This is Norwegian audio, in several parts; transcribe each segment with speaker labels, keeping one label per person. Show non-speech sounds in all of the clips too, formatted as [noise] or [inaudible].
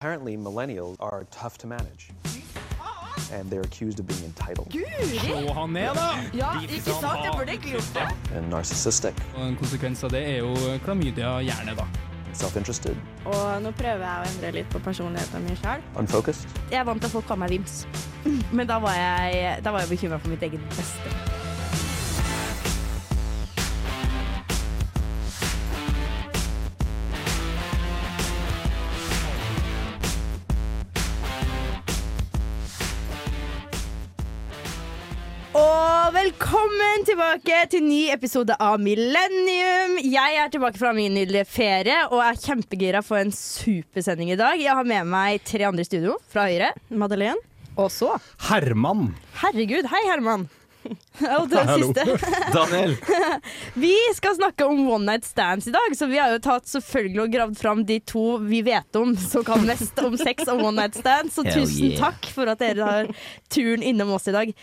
Speaker 1: Apparently, millennials are tough to manage. And they're accused of being entitled
Speaker 2: Guri!
Speaker 3: Få han ned, da!
Speaker 2: Ja, ikke sant? Jeg burde ikke gjort det.
Speaker 1: and narcissistic,
Speaker 3: Og en konsekvens av det er jo klamydia-hjerne, da.
Speaker 1: self interested,
Speaker 4: Og nå prøver jeg å endre litt på personligheten min sjøl.
Speaker 1: unfocused.
Speaker 4: Jeg er vant til at folk kaller meg Vims. Men da var jeg, da var jeg bekymra for mitt eget beste. Og velkommen tilbake til ny episode av Millennium. Jeg er tilbake fra min nydelige ferie og er kjempegira for en supersending i dag. Jeg har med meg tre andre i studio fra Høyre. Madeleine. Og så
Speaker 3: Herman.
Speaker 4: Herregud, hei Herman. Og det siste.
Speaker 3: Daniel.
Speaker 4: Vi skal snakke om one night stands i dag, så vi har jo tatt selvfølgelig og gravd fram de to vi vet om som kan mest om sex og one night stands. Så
Speaker 5: Hell
Speaker 4: tusen
Speaker 5: yeah.
Speaker 4: takk for at dere har turen innom oss i dag.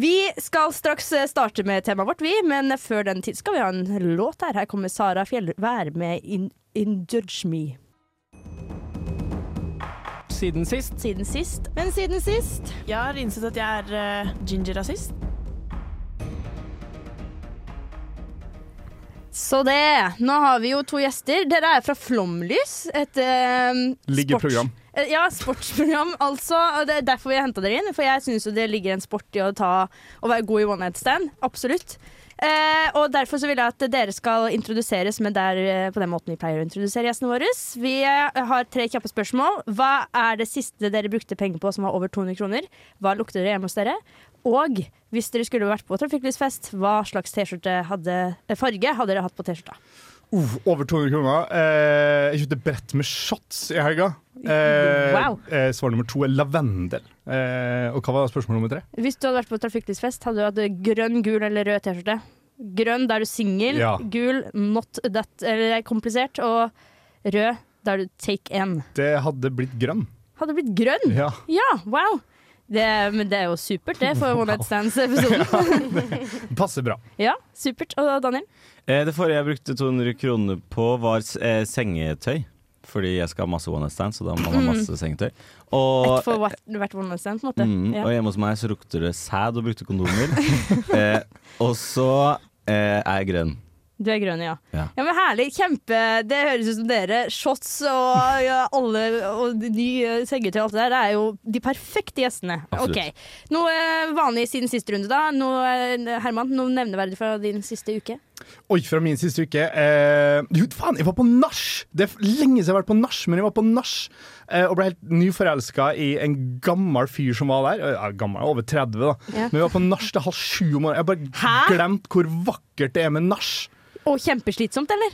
Speaker 4: Vi skal straks eh, starte med temaet vårt, vi, men før den tid skal vi ha en låt her. Her kommer Sara Fjell, vær med in, in Judge Me.
Speaker 3: Siden sist.
Speaker 4: Siden sist. Men siden sist
Speaker 2: Jeg har innsett at jeg er uh, ginger-rasist.
Speaker 4: Så det. Nå har vi jo to gjester. Dere er fra Flomlys. Et eh,
Speaker 3: Liggeprogram.
Speaker 4: sports- eh, ja, sportsprogram, altså. Og det er derfor jeg henta dere inn. For jeg syns jo det ligger en sport i å ta, å være god i one night stand. Absolutt. Eh, og derfor så vil jeg at dere skal introduseres med der, eh, på den måten vi pleier å introdusere gjestene våre. Vi eh, har tre kjappe spørsmål. Hva er det siste dere brukte penger på som var over 200 kroner? Hva lukter det hjemme hos dere? Og hvis dere skulle vært på trafikklysfest, hva slags T-skjorte hadde eh, farge hadde dere hatt på T-skjorta?
Speaker 6: Uh, over 200 kroner. Eh, jeg kjøpte brett med shots i helga. Eh,
Speaker 4: Wow.
Speaker 6: eh, svar nummer to er lavendel. Eh, og hva var spørsmål nummer tre?
Speaker 4: Hvis du hadde vært på trafikklysfest, hadde du hatt grønn, gul eller rød T-skjorte? Grønn der du er singel,
Speaker 6: Ja.
Speaker 4: gul not that, eller er komplisert, og rød der du take en.
Speaker 6: Det hadde blitt grønn.
Speaker 4: Hadde blitt grønn!
Speaker 6: Ja.
Speaker 4: Ja, wow! Det, men det er jo supert, det, for One
Speaker 5: [laughs]
Speaker 4: Night Stands-episoden.
Speaker 6: Passer bra.
Speaker 4: ja, supert. Og Daniel?
Speaker 5: Eh, Det forrige jeg brukte 200 kroner på, var eh, sengetøy. Fordi jeg skal ha masse one night stand, så da må
Speaker 4: Mm.
Speaker 5: man ha masse sengetøy.
Speaker 4: Ett
Speaker 5: Og,
Speaker 4: for hvert, hvert One Night Stand, på en måte.
Speaker 5: mm,
Speaker 4: Ja.
Speaker 5: og hjemme hos meg så lukter det sæd og brukte
Speaker 4: [laughs]
Speaker 5: kondomer. eh, og så eh, er jeg grønn.
Speaker 4: Du er grønn, ja.
Speaker 5: Ja.
Speaker 4: Ja, men Herlig. Kjempe Det høres ut som dere. Shots og ja, alle og ny eh, sengetøy og alt det der. Det er jo de perfekte gjestene.
Speaker 5: Absolutt.
Speaker 4: Ok. Noe eh, vanlig siden siste runde, da. Noe, eh, Herman, noe nevneverdig fra din siste uke?
Speaker 6: Oi, fra min siste uke eh, Jo, faen, jeg var på nach! Det er lenge siden jeg har vært på nach, men jeg var på nach eh, og ble helt nyforelska i en gammel fyr som var der. Eh, Ja, gammel, over 30, da.
Speaker 4: Ja.
Speaker 6: Men vi var på nach til halv sju om
Speaker 4: Hæ?
Speaker 6: morgenen. Jeg har bare glemt hvor vakkert det er med nach.
Speaker 4: Og kjempeslitsomt, eller?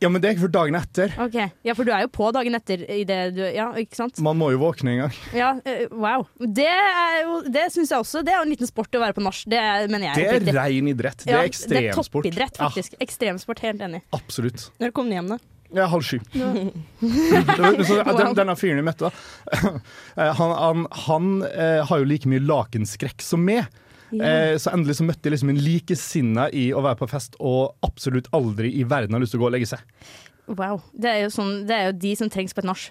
Speaker 6: Ja, men det er ikke for dagen etter.
Speaker 4: Ok, Ja, for du er jo på dagen etter i det du Ja, ikke sant?
Speaker 6: Man må jo våkne en gang.
Speaker 4: Ja, eh, Wow. Det er jo Det syns jeg også. Det er jo en liten sport å være på nach. Det er- mener jeg.
Speaker 6: Det er
Speaker 4: oppriktig.
Speaker 6: rein idrett. Det
Speaker 4: Ja,
Speaker 6: er Ah. ekstremsport.
Speaker 4: Det er toppidrett, faktisk. Ekstremsport. Helt enig.
Speaker 6: Ja, absolutt.
Speaker 4: Når kom du hjem, da?
Speaker 6: Jeg er halv sju.
Speaker 4: [laughs]
Speaker 6: Det var- [laughs] så
Speaker 4: Wow.
Speaker 6: den, denne fyren jeg møtte, da. [laughs] eh, Han, han, han eh, har jo like mye lakenskrekk som meg. Eh, Så endelig så møtte jeg liksom en likesinna i å være på fest og absolutt aldri i verden har lyst til å gå og legge seg.
Speaker 4: Wow. Det er jo, sånn, det er jo de som trengs på et nach.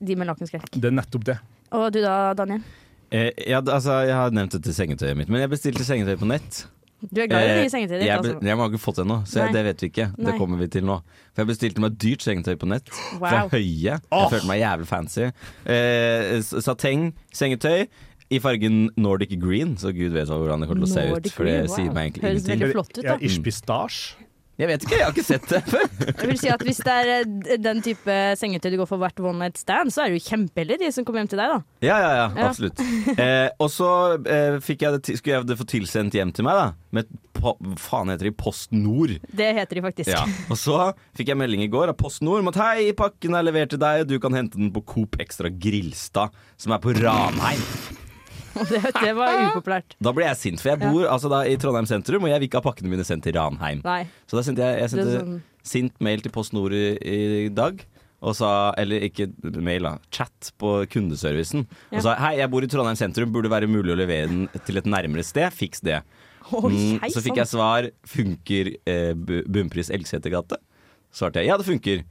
Speaker 4: De med lakenskrekk.
Speaker 6: Det er nettopp det.
Speaker 4: Og du da, Daniel?
Speaker 5: Eh, ja, altså, jeg har nevnt dette sengetøyet mitt, men jeg bestilte sengetøy på nett.
Speaker 4: Du er glad i
Speaker 5: Eh,
Speaker 4: nye sengetøyer.
Speaker 5: jeg,
Speaker 4: altså.
Speaker 5: be- jeg har ikke fått det ennå, så jeg,
Speaker 4: Nei.
Speaker 5: det vet vi ikke.
Speaker 4: Nei.
Speaker 5: Det kommer vi til nå. For jeg bestilte meg dyrt sengetøy
Speaker 4: [gasps]
Speaker 5: på nett. Fra
Speaker 4: Wow.
Speaker 5: Høie.
Speaker 6: Åh.
Speaker 5: Jeg følte meg jævlig fancy. Eh, s- sateng sengetøy i fargen Nordic green, så gud vet hvordan det kommer til å se
Speaker 4: Nordic
Speaker 5: ut. For det
Speaker 4: green, wow.
Speaker 5: sier meg egentlig
Speaker 4: Høres
Speaker 5: ingenting.
Speaker 4: Veldig flott ut, da.
Speaker 6: Ja, Ish pistasje.
Speaker 5: Jeg vet ikke, jeg har ikke sett det før.
Speaker 4: [laughs] Jeg vil si at Hvis det er eh, d- den type sengetøy du går for hvert one night stand, så er du kjempeheldig de som kommer hjem til deg, da.
Speaker 5: Ja, ja, ja,
Speaker 4: Ja.
Speaker 5: absolutt. Eh, og så eh, fikk jeg det, til- skulle jeg det få tilsendt hjem til meg, da. Med po faen heter de Post Nord.
Speaker 4: Det heter de faktisk.
Speaker 5: Ja. Og så fikk jeg melding i går av Post Nord om at hei, pakken er levert til deg, og du kan hente den på Coop Extra Grilstad, som er på Ranheim.
Speaker 4: [laughs] Og Det, det [laughs] var upopulært.
Speaker 5: Da ble jeg sint, for jeg bor altså, da, i Trondheim sentrum, og jeg vil ikke ha pakkene mine sendt til Ranheim.
Speaker 4: Nei.
Speaker 5: Så da sendte jeg, jeg
Speaker 4: Det
Speaker 5: sendte
Speaker 4: er sånn-
Speaker 5: sint mail til Post Nord i, i dag. Og sa, eller ikke mail, da. Chat på kundeservicen.
Speaker 4: Ja.
Speaker 5: Og sa hei, jeg bor i Trondheim sentrum, burde være mulig å levere den til et nærmere sted. Fiks det. Mm,
Speaker 4: hei, sånn.
Speaker 5: så fikk jeg svar funker eh, bu- bunnpris Elgsetergate. Svarte jeg ja, det funker.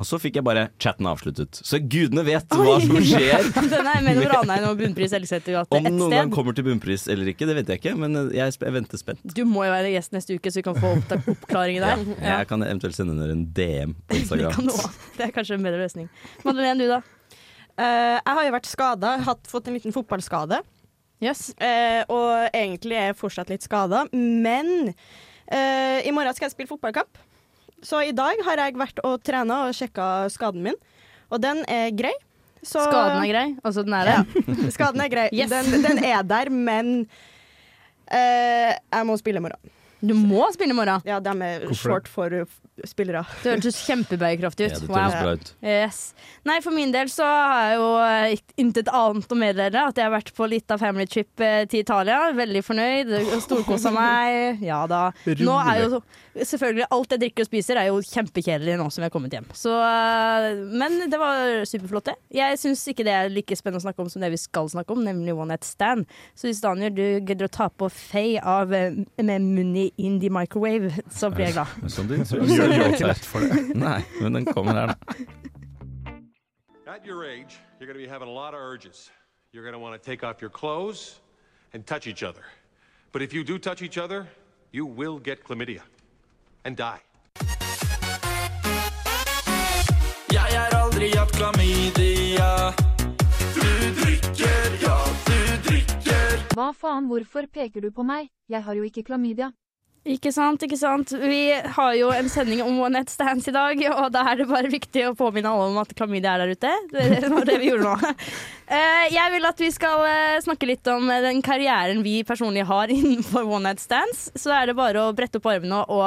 Speaker 5: Og så fikk jeg bare chatten avsluttet. Så gudene vet hva som
Speaker 4: [laughs]
Speaker 5: skjer.
Speaker 4: Den er mellom Ranheim og Bunnpris Elgsetergate
Speaker 5: Om
Speaker 4: ett
Speaker 5: noen gang
Speaker 4: sted.
Speaker 5: kommer til bunnpris eller ikke, det vet jeg ikke, men jeg, sp- jeg venter spent.
Speaker 4: Du må jo være gjest neste uke, så vi kan få opptak- oppklaringen der.
Speaker 5: Jeg kan eventuelt sende dere en DM på
Speaker 4: [laughs] Det, kan
Speaker 5: Instagram.
Speaker 4: du også. det er kanskje en bedre løsning. Madeleine, du da?
Speaker 7: Eh, jeg har jo vært skada, hatt fått en liten fotballskade.
Speaker 4: Yes.
Speaker 7: eh, og egentlig er jeg fortsatt litt skada, men eh, i morgen skal jeg spille fotballkamp. Så i dag har jeg vært og trena og sjekka skaden min, og den er grei. Så-
Speaker 4: Skaden er grei. Altså, den er det.
Speaker 7: [laughs] Skaden er grei.
Speaker 4: Yes.
Speaker 7: Den, den er der, men eh, jeg må spille i morgen.
Speaker 4: Du må spille i morgen.
Speaker 7: Ja, de er
Speaker 6: Hvorfor
Speaker 7: short for uh, spillere.
Speaker 4: Det hørtes kjempebærekraftig
Speaker 5: Ja,
Speaker 4: ut.
Speaker 5: det høres
Speaker 4: Wow.
Speaker 5: bra ut.
Speaker 4: Yes. Nei, for min del så har jeg jo eh, ik- intet annet å meddele. At jeg har vært på litt av family trip eh, til Italia. Veldig fornøyd. Storkosa meg. Ja da. Nå er jo selvfølgelig alt jeg drikker og spiser, er jo kjempekjedelig nå som jeg har kommet hjem. Så, eh, men det var superflott, det. Jeg syns ikke det er like spennende å snakke om som det vi skal snakke om, nemlig One Night Stand. Så hvis Daniel du gidder å ta på Faye av eh, med Munni in the microwave, så blir jeg glad.
Speaker 5: Men Sånn du, så,
Speaker 6: [laughs] Gjør det jo ikke lett for det.
Speaker 5: [laughs] Nei, men den kommer her, da.
Speaker 8: At your age, you're going to be having a lot of urges. You're going to want to take off your clothes and touch each other. But if you do touch each other, you will get chlamydia and die.
Speaker 9: Jeg har aldri hatt klamydia. Du drikker, ja, du drikker.
Speaker 10: Hva faen, hvorfor peker du på meg? Jeg har jo ikke klamydia.
Speaker 4: Ikke sant, ikke sant. Vi har jo en sending om One Night Stands i dag, og da er det bare viktig å påminne alle om at klamydia er der ute. Det var det vi gjorde nå. [laughs] Eh, Jeg vil at vi skal eh, snakke litt om eh, den karrieren vi personlig har [laughs] innenfor One Night Stands. Så er det bare å brette opp armene og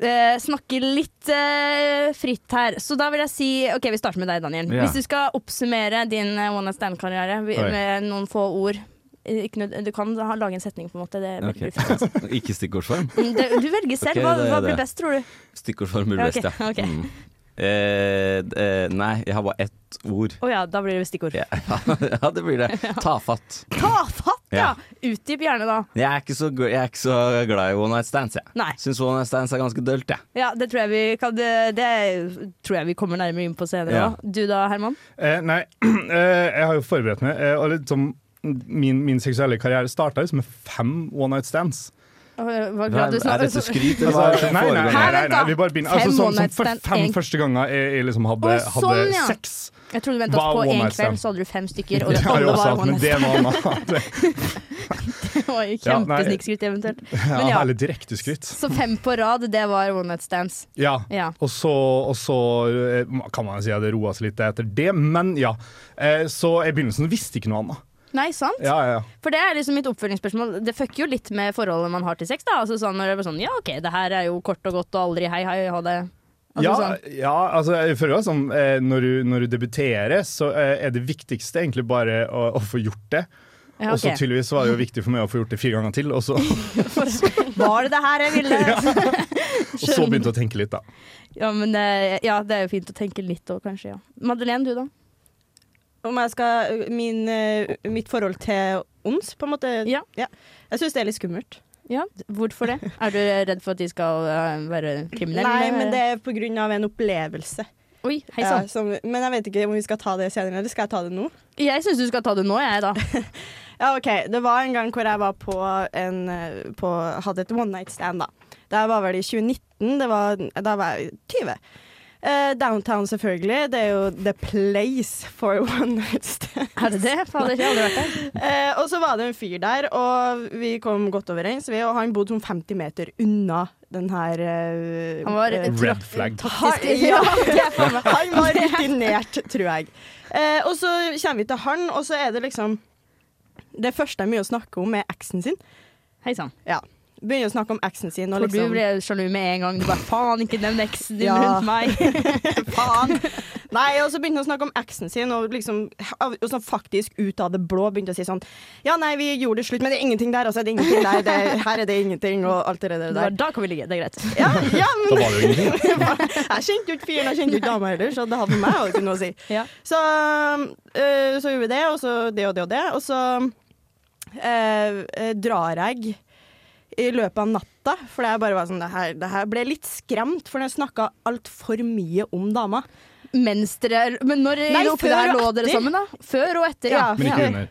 Speaker 4: eh, snakke litt eh, fritt her. Så da vil jeg si OK, vi starter med deg, Daniel.
Speaker 6: Ja.
Speaker 4: Hvis du skal oppsummere din eh, One Night Stand-karriere vi-
Speaker 6: Oi.
Speaker 4: med noen få ord Eh, ikke nød- Du kan ha- lage en setning, på en måte. Det [laughs] blir
Speaker 5: Ok.
Speaker 4: fint.
Speaker 5: Ikke stikkordsform.
Speaker 4: Det, du velger selv.
Speaker 5: Ok,
Speaker 4: hva,
Speaker 5: det er
Speaker 4: hva
Speaker 5: det.
Speaker 4: blir best, tror du?
Speaker 5: Stikkordsform blir
Speaker 4: Ja,
Speaker 5: best,
Speaker 4: Mm. ok,
Speaker 5: ja.
Speaker 4: ok.
Speaker 5: Mm. Eh, d- eh, nei, jeg har bare ett ord.
Speaker 4: Å ja, da blir det stikkord.
Speaker 5: Ja, [laughs] ja det blir
Speaker 4: [laughs]
Speaker 5: det. Tafatt.
Speaker 4: Ta fatt, ja! Utdyp gjerne, da.
Speaker 5: Jeg er ikke så, gl- jeg er ikke så glad i one night stands, jeg.
Speaker 4: Nei.
Speaker 5: Syns one night stands er ganske dølt, jeg.
Speaker 4: Ja, det tror jeg vi, kan, det, det tror jeg vi kommer nærmere inn på senere.
Speaker 5: Ja.
Speaker 4: Da. Du da, Herman?
Speaker 6: Eh, nei, [clears throat] eh, jeg har jo forberedt meg, eh, og liksom, min, min seksuelle karriere starta liksom med fem one night stands.
Speaker 4: Å, Hva
Speaker 5: Hva
Speaker 4: glad
Speaker 5: Er
Speaker 4: du sa
Speaker 5: er dette skryt, eller hva er det
Speaker 6: Altså,
Speaker 5: som
Speaker 6: nei, nei, nei,
Speaker 5: foregår?
Speaker 6: nei, nei, vi bare begynner. Altså,
Speaker 4: Fem
Speaker 6: sånn,
Speaker 4: one
Speaker 6: som
Speaker 4: night
Speaker 6: for
Speaker 4: stand,
Speaker 6: fem
Speaker 4: en-
Speaker 6: første ganger jeg, jeg liksom hadde,
Speaker 4: Å, sånn,
Speaker 6: hadde
Speaker 4: [laughs] ja.
Speaker 6: sex.
Speaker 4: Jeg trodde du ventet
Speaker 6: Hva
Speaker 4: på
Speaker 6: one
Speaker 4: én
Speaker 6: night stand?
Speaker 4: kveld, så hadde du fem
Speaker 6: [laughs]
Speaker 4: stykker. Og
Speaker 6: Det
Speaker 4: det
Speaker 6: har jeg
Speaker 4: alle
Speaker 6: også
Speaker 4: var
Speaker 6: hatt,
Speaker 4: one
Speaker 6: men det
Speaker 4: night [laughs]
Speaker 6: var noe annet.
Speaker 4: stand.
Speaker 6: Ja, nei.
Speaker 4: Kjempesnikskryt, eventuelt. Men
Speaker 6: Ja,
Speaker 4: ja,
Speaker 6: Herlig direkteskritt.
Speaker 4: Så fem på rad, det var one night stands.
Speaker 6: Ja.
Speaker 4: Ja.
Speaker 6: Og så, og så eh, kan man jo si at det roa seg litt etter det, men ja. Eh, Så i begynnelsen visste jeg ikke noe annet.
Speaker 4: Nei, sant?
Speaker 6: Ja, ja, ja.
Speaker 4: For det er liksom mitt oppfølgingsspørsmål. Det fucker jo litt med forholdet man har til sex. da Altså sånn Når det er bare sånn Ja, OK, det her er jo kort og godt og aldri hei, hei, ha det. Altså,
Speaker 6: ja,
Speaker 4: sånn.
Speaker 6: ja, altså jeg føler jo sånn, eh, når, du, når du debuterer, så eh, er det viktigste egentlig bare å, å få gjort det.
Speaker 4: Ja,
Speaker 6: Og så
Speaker 4: ok.
Speaker 6: tydeligvis var det jo viktig for meg å få gjort det fire ganger til,
Speaker 4: [laughs]
Speaker 6: og så, og
Speaker 4: Var det det her jeg
Speaker 6: [laughs]
Speaker 4: ville? ja.
Speaker 6: så begynte jeg å tenke litt, da.
Speaker 4: men eh, ja, det er jo fint å tenke litt òg, kanskje. Ja. Madeleine, du da?
Speaker 7: Om jeg skal min, eh, Mitt forhold til ons, på en måte.
Speaker 4: Ja.
Speaker 7: Jeg syns det er litt skummelt.
Speaker 4: Ja, Hvorfor det? Er du redd for at de skal eh, være kriminelle?
Speaker 7: Nei, men det er på grunn av en opplevelse.
Speaker 4: Oi, hei
Speaker 7: Ja,
Speaker 4: sann.
Speaker 7: som, men jeg vet ikke om vi skal ta det senere, eller skal jeg ta det nå?
Speaker 4: Jeg syns du skal ta det nå, jeg, da.
Speaker 7: Ja, OK. Det var en gang hvor jeg var på en eh, på, Hadde et one night stand, da. Det var vel i 2019. Det var, da var jeg 20. Eh, downtown, selvfølgelig. Det er jo the place for [laughs] one night stand.
Speaker 4: [laughs] Er det det? Fader, jeg har aldri vært der.
Speaker 7: Eh, og så var det en fyr der, og vi kom godt overens. Vi, og han bodde sånn 50 meter unna den her eh,
Speaker 4: Han var
Speaker 7: eh,
Speaker 4: et
Speaker 6: Red flag.
Speaker 7: [laughs]
Speaker 4: taktisk
Speaker 7: Han- ja,
Speaker 4: [laughs]
Speaker 7: det er faen meg- han var rutinert, tror jeg. Eh, og så kommer vi til han, og så er det liksom Det første mye å snakke om, er eksen sin.
Speaker 4: Hei sann.
Speaker 7: Begynner å snakke om eksen sin. Og
Speaker 4: For du
Speaker 7: liksom,
Speaker 4: ble sjalu med en gang. Du bare faen, ikke nevn eksen din
Speaker 7: Ja.
Speaker 4: rundt [laughs] meg.
Speaker 7: [laughs] faen. Nei, og så begynte han å snakke om eksen sin, og liksom og sånn faktisk ut av det blå begynte å si sånn Ja, nei, vi gjorde det slutt, men det er ingenting der, altså. Det er ingenting der. Det, her er det ingenting, og alt det
Speaker 4: Du
Speaker 7: der.
Speaker 4: bare, da kan vi ligge. Det er greit.
Speaker 7: Ja, ja,
Speaker 6: Da
Speaker 7: men
Speaker 6: var det jo ingenting.
Speaker 7: [laughs] jeg kjente jo ikke fyren, jeg kjente jo ikke dama heller, så det hadde meg jo ikke noe å si.
Speaker 4: Ja.
Speaker 7: Så, øh, så gjorde vi det, og så det og det og det. Og så øh, øh, drar jeg i løpet av natta natta. For jeg bare var sånn, det her, det her ble litt skremt, for jeg snakka altfor mye om dama.
Speaker 4: Mens dere Men når
Speaker 7: Nei,
Speaker 4: oppi
Speaker 7: før
Speaker 4: der
Speaker 7: og
Speaker 4: lå dere
Speaker 7: etter.
Speaker 4: sammen, da? Før og etter, Altså, ja.
Speaker 6: Men ikke
Speaker 7: Ja.
Speaker 6: under.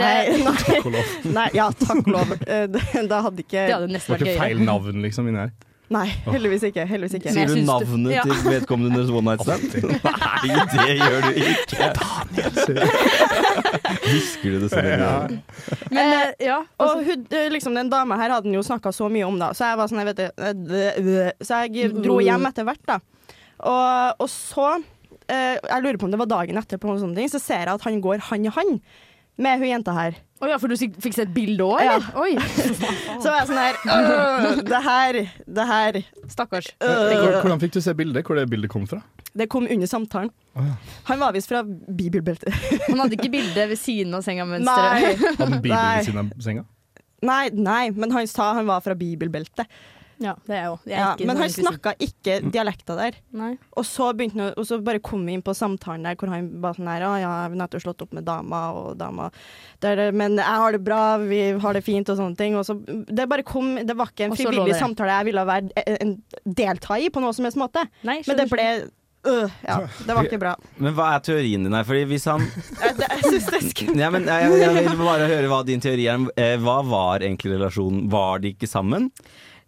Speaker 7: Nei, nei,
Speaker 6: Takk og lov.
Speaker 7: nei, ja, takk lov. Eh, [laughs] det- Da hadde ikke
Speaker 4: Det hadde nesten
Speaker 6: Det var
Speaker 4: vært
Speaker 6: ikke
Speaker 4: gøyere.
Speaker 6: feil navn liksom inni
Speaker 4: [laughs]
Speaker 6: her.
Speaker 7: Nei, heldigvis ikke. Heldigvis ikke.
Speaker 4: Men jeg
Speaker 5: Sier du
Speaker 4: syns du-
Speaker 5: navnet
Speaker 4: ja.
Speaker 5: til vedkommende under one night stand? Nei, det gjør du ikke. Husker du det selv? Emilie?
Speaker 4: Men eh, ja.
Speaker 7: Og hun, eh, liksom, den dama her hadde han jo snakka så mye om, da. Så jeg var sånn, jeg vet det, eh, det- det- Så jeg
Speaker 4: Mm.
Speaker 7: dro hjem etter hvert, da. Og, og så eh, Jeg lurer på om det var dagen etterpå, eller noe sånt, så ser jeg at han går hand i hand med hun jenta her.
Speaker 4: Å ja, for du sik- fikk sett bilde òg, eller? Oi,
Speaker 7: Så var jeg sånn her «Øh, Det her, det her
Speaker 4: [laughs] stakkars.
Speaker 6: Eh, Hvor-
Speaker 7: øh.
Speaker 6: Hvordan fikk du se bildet? Hvor det bildet kom fra?
Speaker 7: Det kom under samtalen. Han var visst
Speaker 4: [laughs]
Speaker 7: fra bibelbeltet.
Speaker 4: Han hadde ikke bilde ved siden av senga mens dere [laughs]
Speaker 7: Nei.
Speaker 6: Hadde en bibel
Speaker 7: Nei.
Speaker 6: ved siden av senga?
Speaker 7: nei, nei, men han sa han var fra bibelbeltet.
Speaker 4: Ja, det er jeg òg.
Speaker 7: Ja, men han snakka ikke dialekta der.
Speaker 4: Nei.
Speaker 7: Og så, begynte han, å- og så bare kom vi inn på samtalen der hvor han bare sånn her Å ja, jeg har nettopp slått opp med dama, og dama der, er det- Men jeg har det bra, vi har det fint, og sånne ting. Og så Det bare kom Det var ikke en
Speaker 4: Og så lå
Speaker 7: frivillig
Speaker 4: dere.
Speaker 7: samtale jeg ville være en- en delta i på noen som helst måte.
Speaker 4: Nei,
Speaker 7: Men det ble øh, Ja, det var ikke bra.
Speaker 5: Men hva er teorien din her? Fordi hvis han
Speaker 7: Jeg, det- jeg syns det er skummelt.
Speaker 5: ja, men jeg, jeg vil bare høre hva din teori er. Eh, Hva var egentlig relasjonen? Var de ikke sammen?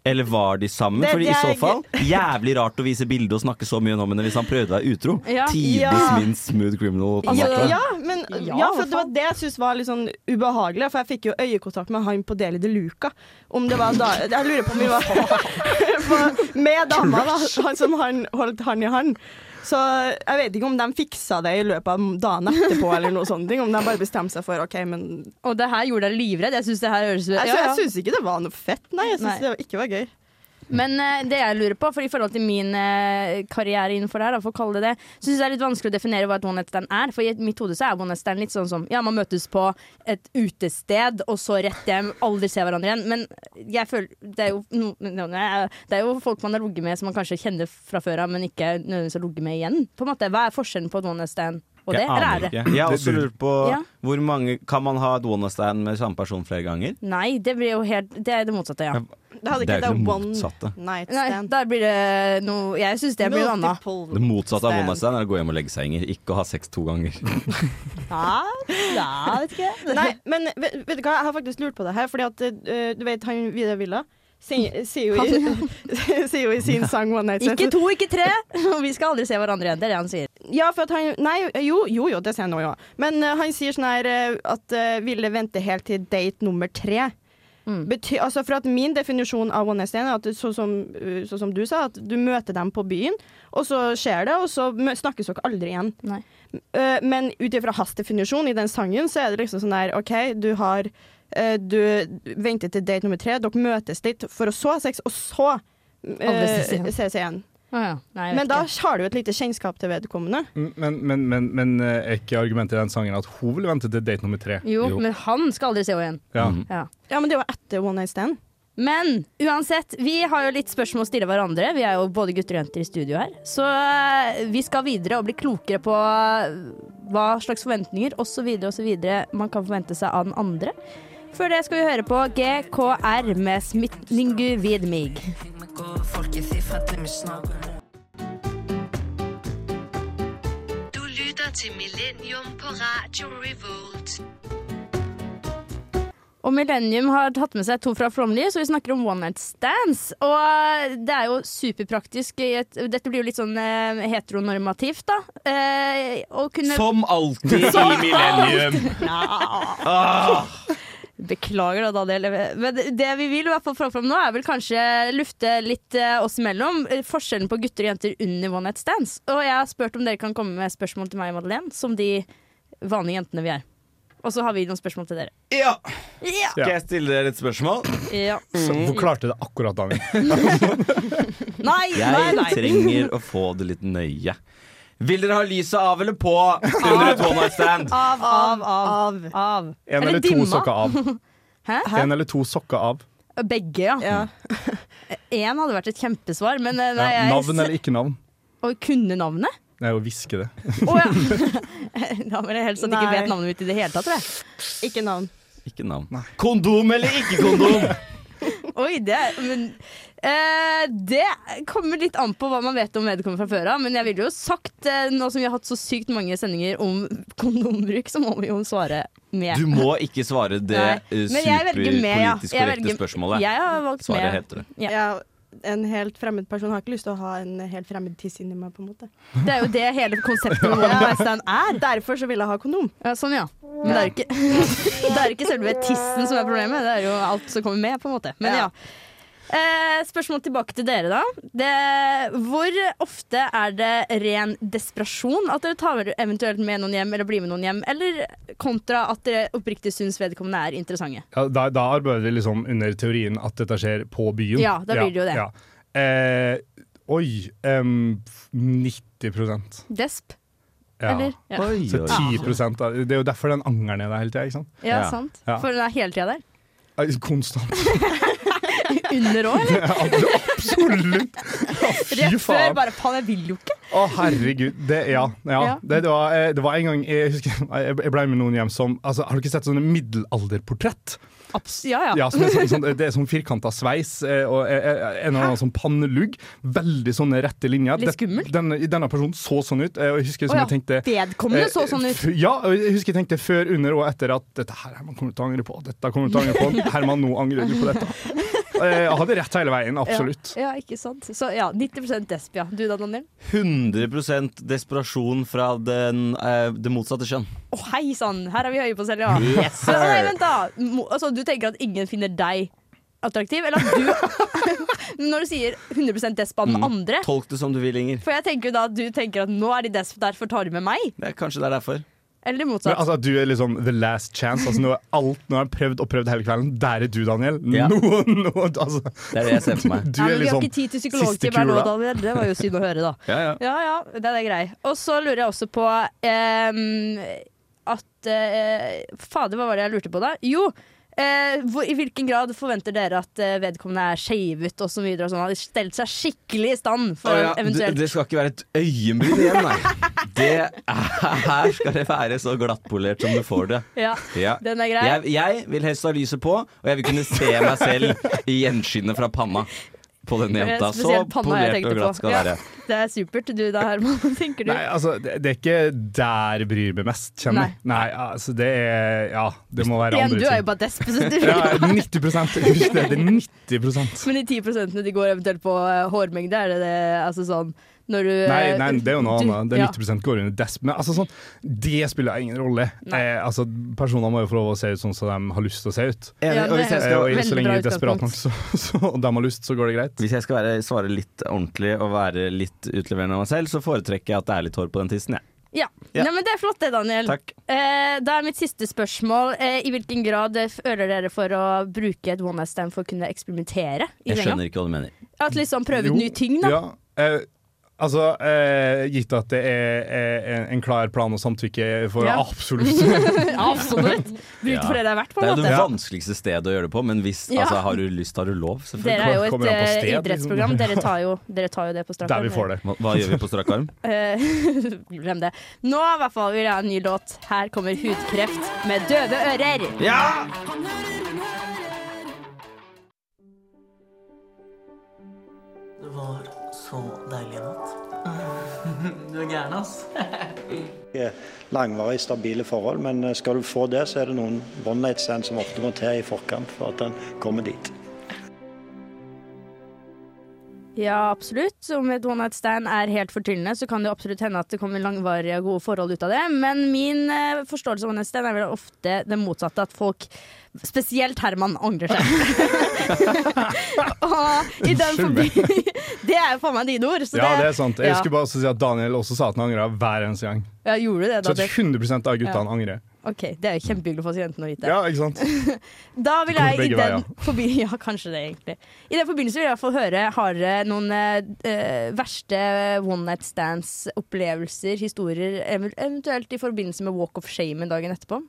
Speaker 5: Eller var de sammen?
Speaker 7: Det-
Speaker 5: Fordi
Speaker 7: det
Speaker 5: i så
Speaker 7: er-
Speaker 5: fall Jævlig rart å vise bilde og snakke så mye om henne hvis han prøvde å være utro.
Speaker 4: Ja.
Speaker 5: Tidvis
Speaker 7: Ja. Altså-
Speaker 5: min smooth criminal. på en
Speaker 4: Altså,
Speaker 7: Ja,
Speaker 5: måte.
Speaker 7: ja, men, ja, for det var det jeg syntes var litt sånn ubehagelig. For jeg fikk jo øyekontakt med han på Deli de Luca. Om det var da Jeg lurer på om
Speaker 4: [laughs]
Speaker 7: vi var på- med dama, da. Han som han holdt han i hand. Så jeg vet ikke om de fiksa det i løpet av dagen etterpå, eller noe sånt. Om de bare bestemte seg for OK, men
Speaker 4: Og det her gjorde deg livredd. Jeg syns det her høres
Speaker 7: Jeg,
Speaker 4: Ja,
Speaker 7: sy-
Speaker 4: ja.
Speaker 7: jeg syns ikke det var noe fett, nei. Jeg
Speaker 4: Nei.
Speaker 7: syns det ikke var gøy.
Speaker 4: Men eh, det jeg lurer på, for i forhold til min eh, karriere innenfor det her, da, for å kalle det det, så syns jeg det er litt vanskelig å definere hva et one night stand er. For i mitt hode så er one night stand litt sånn som ja, man møtes på et utested, og så rett hjem, aldri se hverandre igjen. Men jeg føler det er jo, no, no, nei, det er jo folk man har ligget med som man kanskje kjenner fra før av, men ikke nødvendigvis har ligget med igjen. På en måte. Hva er forskjellen på et one night stand og det?
Speaker 5: Jeg
Speaker 4: Eller
Speaker 5: aner
Speaker 4: er det?
Speaker 5: ikke. Jeg har også lurt på
Speaker 4: Ja.
Speaker 5: hvor mange Kan man ha et one night stand med samme person flere ganger?
Speaker 4: Nei, det blir jo helt Det er det motsatte, ja.
Speaker 7: Det hadde
Speaker 5: Det er
Speaker 7: ikke
Speaker 5: jo ikke
Speaker 7: det
Speaker 5: det
Speaker 7: one
Speaker 5: motsatte.
Speaker 7: night
Speaker 4: Nei,
Speaker 7: stand.
Speaker 4: der blir det noe Jeg syns det blir noe annet.
Speaker 5: Det motsatte av
Speaker 7: Stand.
Speaker 5: one night stand er å gå hjem og legge seg, Inger. Ikke å ha sex to [laughs] ganger.
Speaker 4: Ja, ja, vet ikke jeg.
Speaker 7: [laughs] Nei, men vet, vet du hva, jeg har faktisk lurt på det her, fordi at eh, du vet han Vidar Villa sier sier jo, i- [laughs] sier jo i sin sang One Night Stand
Speaker 4: Ikke to, ikke tre. [laughs] Og vi skal aldri se hverandre igjen. Det er det han sier.
Speaker 7: Ja, for at han Nei, jo, jo, jo det sier han nå, ja. Men eh, han sier sånn her eh, at eh, ville vente helt til date nummer tre.
Speaker 4: Mm.
Speaker 7: Bety, altså for at Min definisjon av one night stand er at det- sånn som, eh, sånn som du sa, at du møter dem på byen, og så skjer det, og så mø- snakkes dere aldri igjen.
Speaker 4: Nei.
Speaker 7: Eh, men ut ifra hans definisjon i den sangen, så er det liksom sånn der OK, du har eh, Du venter til date nummer tre, dere møtes litt for å så ha sex, og så
Speaker 4: Aldri ses
Speaker 7: eh,
Speaker 4: igjen.
Speaker 7: ses igjen.
Speaker 4: Nei, jeg vet
Speaker 7: Men da
Speaker 4: ikke.
Speaker 7: har du jo et lite kjennskap til vedkommende.
Speaker 6: Men, men, men, men eh, er ikke argumentet i den sangen at hun vil vente til date nummer tre?
Speaker 4: jo, men han skal aldri se henne igjen.
Speaker 6: Ja.
Speaker 5: Mm.
Speaker 4: Ja.
Speaker 7: Ja, men det var etter One Night Stand.
Speaker 4: Men uansett, vi har jo litt spørsmål å stille hverandre. Vi er jo både gutter og jenter i studio her. Så eh, vi skal videre og bli klokere på eh, hva slags forventninger osv. osv. man kan forvente seg av den andre. Før det skal vi høre på GKR med 'Smitningu vid mig'.
Speaker 11: Du lytter til Millennium på Radio Revolt.
Speaker 4: Og Millennium har tatt med seg to fra Flåmli, så vi snakker om one night stands. Og det er jo superpraktisk. I et, dette blir jo litt sånn eh, heteronormativt, da. Eh, å kunne
Speaker 5: Som alltid i millennium!
Speaker 4: Beklager, da, Daniel. Men det vi vil i hvert fall få fram nå, er vel kanskje lufte litt eh, oss imellom. eh, Forskjellen på gutter og jenter under one night stands. Og jeg har spurt om dere kan komme med spørsmål til meg og Madeleine, som de vanlige jentene vi er. Og så har vi noen spørsmål til dere.
Speaker 5: Ja.
Speaker 4: Ja.
Speaker 5: Skal jeg stille dere et spørsmål?
Speaker 4: ja.
Speaker 6: Så, hvor klarte det akkurat,
Speaker 4: [laughs]
Speaker 6: Daniel?
Speaker 4: Nei, nei,
Speaker 5: Jeg
Speaker 4: nei.
Speaker 5: trenger å få det litt nøye. Vil dere ha lyset av eller på under et one night stand?
Speaker 4: Av, av, av. av.
Speaker 6: En
Speaker 4: Eller
Speaker 6: eller to
Speaker 4: dimma.
Speaker 6: sokker av.
Speaker 4: [laughs] Hæ?
Speaker 6: En eller to sokker av.
Speaker 4: Begge, ja. Én hadde vært et kjempesvar, men eh, nei,
Speaker 6: Ja,
Speaker 4: jeg
Speaker 6: navn eller ikke navn?
Speaker 4: Og kunne navnet?
Speaker 6: Det er jo å hviske det.
Speaker 4: Å ja! da vil jeg helst at jeg ikke
Speaker 7: Nei.
Speaker 4: vet navnet mitt i det hele tatt, tror jeg.
Speaker 7: Ikke navn.
Speaker 5: Ikke navn. Kondom eller ikke kondom?
Speaker 4: Oi, det men, eh, Det kommer litt an på hva man vet om vedkommende fra før av. Men jeg ville jo sagt, eh, nå som vi har hatt så sykt mange sendinger om kondombruk, så må vi jo svare med.
Speaker 5: Du må ikke svare det
Speaker 4: Nei,
Speaker 5: eh,
Speaker 4: men jeg velger med, ja.
Speaker 5: superpolitisk
Speaker 4: Jeg
Speaker 5: korrekte
Speaker 4: velger-
Speaker 5: spørsmålet.
Speaker 4: Jeg har valgt
Speaker 5: Svaret
Speaker 4: med.
Speaker 5: heter det.
Speaker 4: Ja.
Speaker 7: En helt fremmed person har ikke lyst til å ha en helt fremmed tiss inni meg, på en måte.
Speaker 4: Det er jo det hele konseptet med
Speaker 5: [laughs]
Speaker 4: One Night Stand er.
Speaker 7: Derfor så vil jeg ha kondom.
Speaker 4: Ja, sånn, ja. Men det er jo ikke, [laughs] det er jo ikke selve tissen som er problemet, det er jo alt som kommer med, på en måte. Men ja. Eh, spørsmål tilbake til dere, da. Det, hvor ofte er det ren desperasjon at dere tar eventuelt med noen hjem, eller blir med noen hjem, eller kontra at dere oppriktig syns vedkommende er interessante?
Speaker 6: Ja, da, da arbeider vi liksom under teorien at dette skjer på byen.
Speaker 4: Ja, da blir det jo det.
Speaker 6: Eh, oi em, 90
Speaker 4: Desp?
Speaker 6: ja.
Speaker 4: Eller? Ja. Oi,
Speaker 6: Så
Speaker 4: oi,
Speaker 6: 10 av, Det er jo derfor den angeren er der hele tida, ikke sant?
Speaker 4: Ja, sant.
Speaker 6: Ja.
Speaker 4: For den er hele tida der.
Speaker 6: Eh, Konstant.
Speaker 4: [laughs] Under òg,
Speaker 6: [laughs]
Speaker 4: eller?
Speaker 6: Absolutt!
Speaker 4: Rett før,
Speaker 6: faen.
Speaker 4: bare faen, jeg vil jo ikke.
Speaker 6: Å, herregud. Det, ja. ja.
Speaker 4: Ja.
Speaker 6: Det, det, var, eh, det var en gang jeg, husker, jeg jeg ble med noen hjem som altså, Har du ikke sett sånne middelalderportrett?
Speaker 4: Abs ja, ja.
Speaker 6: Ja, som er sånn, sånn, det er sånn firkanta sveis eh, og eh, eh, en eller annen sånn pannelugg. Veldig sånne rette linjer.
Speaker 4: Litt skummelt.
Speaker 6: Denne, denne personen så sånn ut. eh, Og jeg husker som
Speaker 4: Å ja,
Speaker 6: jeg tenkte
Speaker 4: vedkommende så sånn ut.
Speaker 6: Eh, f- Ja, og jeg husker jeg tenkte før, under og etter at dette her man kommer du til å angre på. Dette kommer du til
Speaker 4: [laughs]
Speaker 6: å angre på. Herman, nå angrer du på dette. Eh, Jeg hadde rett hele veien, absolutt.
Speaker 4: Ja, ja, ikke sant. Så ja, 90 desp, ja. Du da, Daniel?
Speaker 5: 100 desperasjon fra den, eh, det motsatte kjønn.
Speaker 4: Å, hei sann, her er vi høye på selv, ja.
Speaker 5: Yes, sir.
Speaker 4: Men, nei, vent da. Mo- Altså, du tenker at ingen finner deg attraktiv? Eller at du [laughs] Når du sier 100 desp av den
Speaker 5: Mm.
Speaker 4: andre
Speaker 5: Tolk det som du vil, Inger.
Speaker 4: For jeg tenker jo da at du tenker at nå er de desp, derfor tar de med meg.
Speaker 5: Det er kanskje det er derfor.
Speaker 4: Eller
Speaker 6: Men,
Speaker 4: motsatt.
Speaker 6: altså, du er liksom the last chance. Altså, nå er alt, nå har jeg prøvd og prøvd hele kvelden. Der er du, Daniel.
Speaker 5: Ja.
Speaker 6: Nå, nå, altså.
Speaker 5: Det er det jeg ser for meg.
Speaker 6: [laughs] Du
Speaker 4: Nei, men vi
Speaker 6: er
Speaker 4: har
Speaker 6: liksom
Speaker 4: ikke tid til
Speaker 6: siste
Speaker 4: psykologtime her nå,
Speaker 6: kula.
Speaker 4: Daniel. Det var jo synd å høre, da.
Speaker 5: Ja, ja.
Speaker 4: [laughs] Ja, ja, den er grei. Og så lurer jeg også på ehm, at eh, Fader, hva var det jeg lurte på da? Jo, eh, hvor, i hvilken grad forventer dere at eh, vedkommende er shavet og så videre og sånn? Har de stelt seg skikkelig i stand for
Speaker 5: Å ja, det,
Speaker 4: eventuelt
Speaker 5: det skal ikke være et øyenbryn igjen,
Speaker 4: [laughs]
Speaker 5: nei. Det er, her skal det være så glattpolert som du får det.
Speaker 4: Ja,
Speaker 5: Ja.
Speaker 4: den er grei.
Speaker 5: Jeg, jeg vil helst ha lyset på, og jeg vil kunne se meg selv i gjenskinnet fra panna på denne
Speaker 4: Det er
Speaker 5: jenta. Så
Speaker 4: Eh, spesielt panna jeg
Speaker 5: polert og
Speaker 4: tenkte på.
Speaker 5: glatt skal det
Speaker 4: Ja.
Speaker 5: være.
Speaker 4: [laughs] Det er supert. Du da, Herman, [laughs] hva tenker du?
Speaker 6: Nei, altså, det, det er ikke der jeg bryr meg mest, kjenner jeg. Nei, altså, det er Ja, det må være
Speaker 4: Igjen,
Speaker 6: andre
Speaker 4: du er jo
Speaker 6: ting.
Speaker 4: bare desp, så du
Speaker 6: [laughs] Ja, 90 Husk det, det er 90
Speaker 4: Men de 10 prosentene de går eventuelt på eh, hårmengde, er det det altså sånn når du
Speaker 6: Nei,
Speaker 4: eh,
Speaker 6: nei, det er jo noe
Speaker 4: du-
Speaker 6: annet. Det er
Speaker 4: ja.
Speaker 6: 90 går under desp. Men altså, sånn, det spiller ingen rolle. Eh, altså, personer må jo få lov å se ut sånn som de har lyst til å se ut.
Speaker 5: Enig,
Speaker 4: Ja,
Speaker 5: og hvis
Speaker 4: det-
Speaker 5: jeg
Speaker 6: Eh,
Speaker 5: skal
Speaker 6: og
Speaker 4: Veldig
Speaker 6: så lenge
Speaker 4: bra
Speaker 6: de er desperat
Speaker 4: utgangspunkt.
Speaker 6: nok, så, så, [laughs] og de har lyst, så går det greit.
Speaker 5: Hvis jeg skal være, svare litt ordentlig og være litt utleverende av meg selv, så foretrekker jeg at det er litt hår på den tissen. jeg.
Speaker 4: Ja.
Speaker 5: Ja.
Speaker 4: Nei, men det er flott det, Daniel.
Speaker 5: Takk.
Speaker 4: Eh, da er mitt siste spørsmål eh, i hvilken grad eh, føler dere for å bruke et one night stand for å kunne eksperimentere? I
Speaker 5: Jeg
Speaker 4: senga?
Speaker 5: skjønner ikke hva du mener.
Speaker 4: At liksom prøve ut
Speaker 6: Jo,
Speaker 4: nye ting, da.
Speaker 6: Ja, eh, altså, eh, gitt at det er eh, en, en klar plan og samtykke for
Speaker 4: Ja.
Speaker 6: absolutt [laughs]
Speaker 4: Absolutt. Bruk det for det det er verdt, på
Speaker 5: Det er
Speaker 4: en
Speaker 5: jo det
Speaker 4: måte.
Speaker 5: vanskeligste stedet å gjøre det på, men hvis
Speaker 4: Ja.
Speaker 5: altså, har du lyst, har du lov.
Speaker 4: Dere er
Speaker 5: Selvfølgelig.
Speaker 4: jo
Speaker 6: Kommer
Speaker 4: et
Speaker 6: an på
Speaker 4: eh,
Speaker 6: sted, liksom?
Speaker 4: idrettsprogram. Dere
Speaker 6: [laughs]
Speaker 4: tar jo, dere tar jo det på straffa.
Speaker 6: der vi
Speaker 4: [laughs]
Speaker 6: får det.
Speaker 5: Hva, hva gjør vi på strak arm?
Speaker 4: Glem det. Nå i hvert fall vil jeg ha en ny låt. Her kommer 'Hudkreft' med døve ører.
Speaker 5: Ja!
Speaker 12: Det var så deilig i natt. Du er gæren, ass.
Speaker 13: Det er Langvarige, stabile forhold, men eh, skal du få det, så er det noen one night stand som ofte må til i forkant for at den kommer dit.
Speaker 4: Ja, absolutt. Om et one night stand er helt fortryllende, så kan det jo absolutt hende at det kommer langvarige og gode forhold ut av det. Men min eh, forståelse av one night stand er vel ofte det motsatte. At folk, spesielt Herman, angrer
Speaker 6: [laughs]
Speaker 4: seg. [laughs] og i den
Speaker 6: Unnskyld meg.
Speaker 4: forbi [laughs] Det er jo faen meg dine ord. Så
Speaker 6: Ja, det er sant. Jeg
Speaker 4: ja.
Speaker 6: skulle bare også si at Daniel også sa at han angra hver eneste gang.
Speaker 4: ja, Gjorde du det,
Speaker 6: Så
Speaker 4: da?
Speaker 6: at
Speaker 4: Det,
Speaker 6: 100 av guttene
Speaker 4: Ja.
Speaker 6: angrer.
Speaker 4: ok, det er jo kjempehyggelig for oss jentene å vite.
Speaker 6: Ja, ikke sant?
Speaker 4: Da vil
Speaker 6: kommer
Speaker 4: jeg i
Speaker 6: begge
Speaker 4: den,
Speaker 6: veier.
Speaker 4: [laughs] forbi, ja, kanskje det, egentlig. I den forbindelse vil jeg få høre Har dere noen eh, eh, verste one night stands-opplevelser, historier, ev- eventuelt i forbindelse med walk of shame dagen etterpå?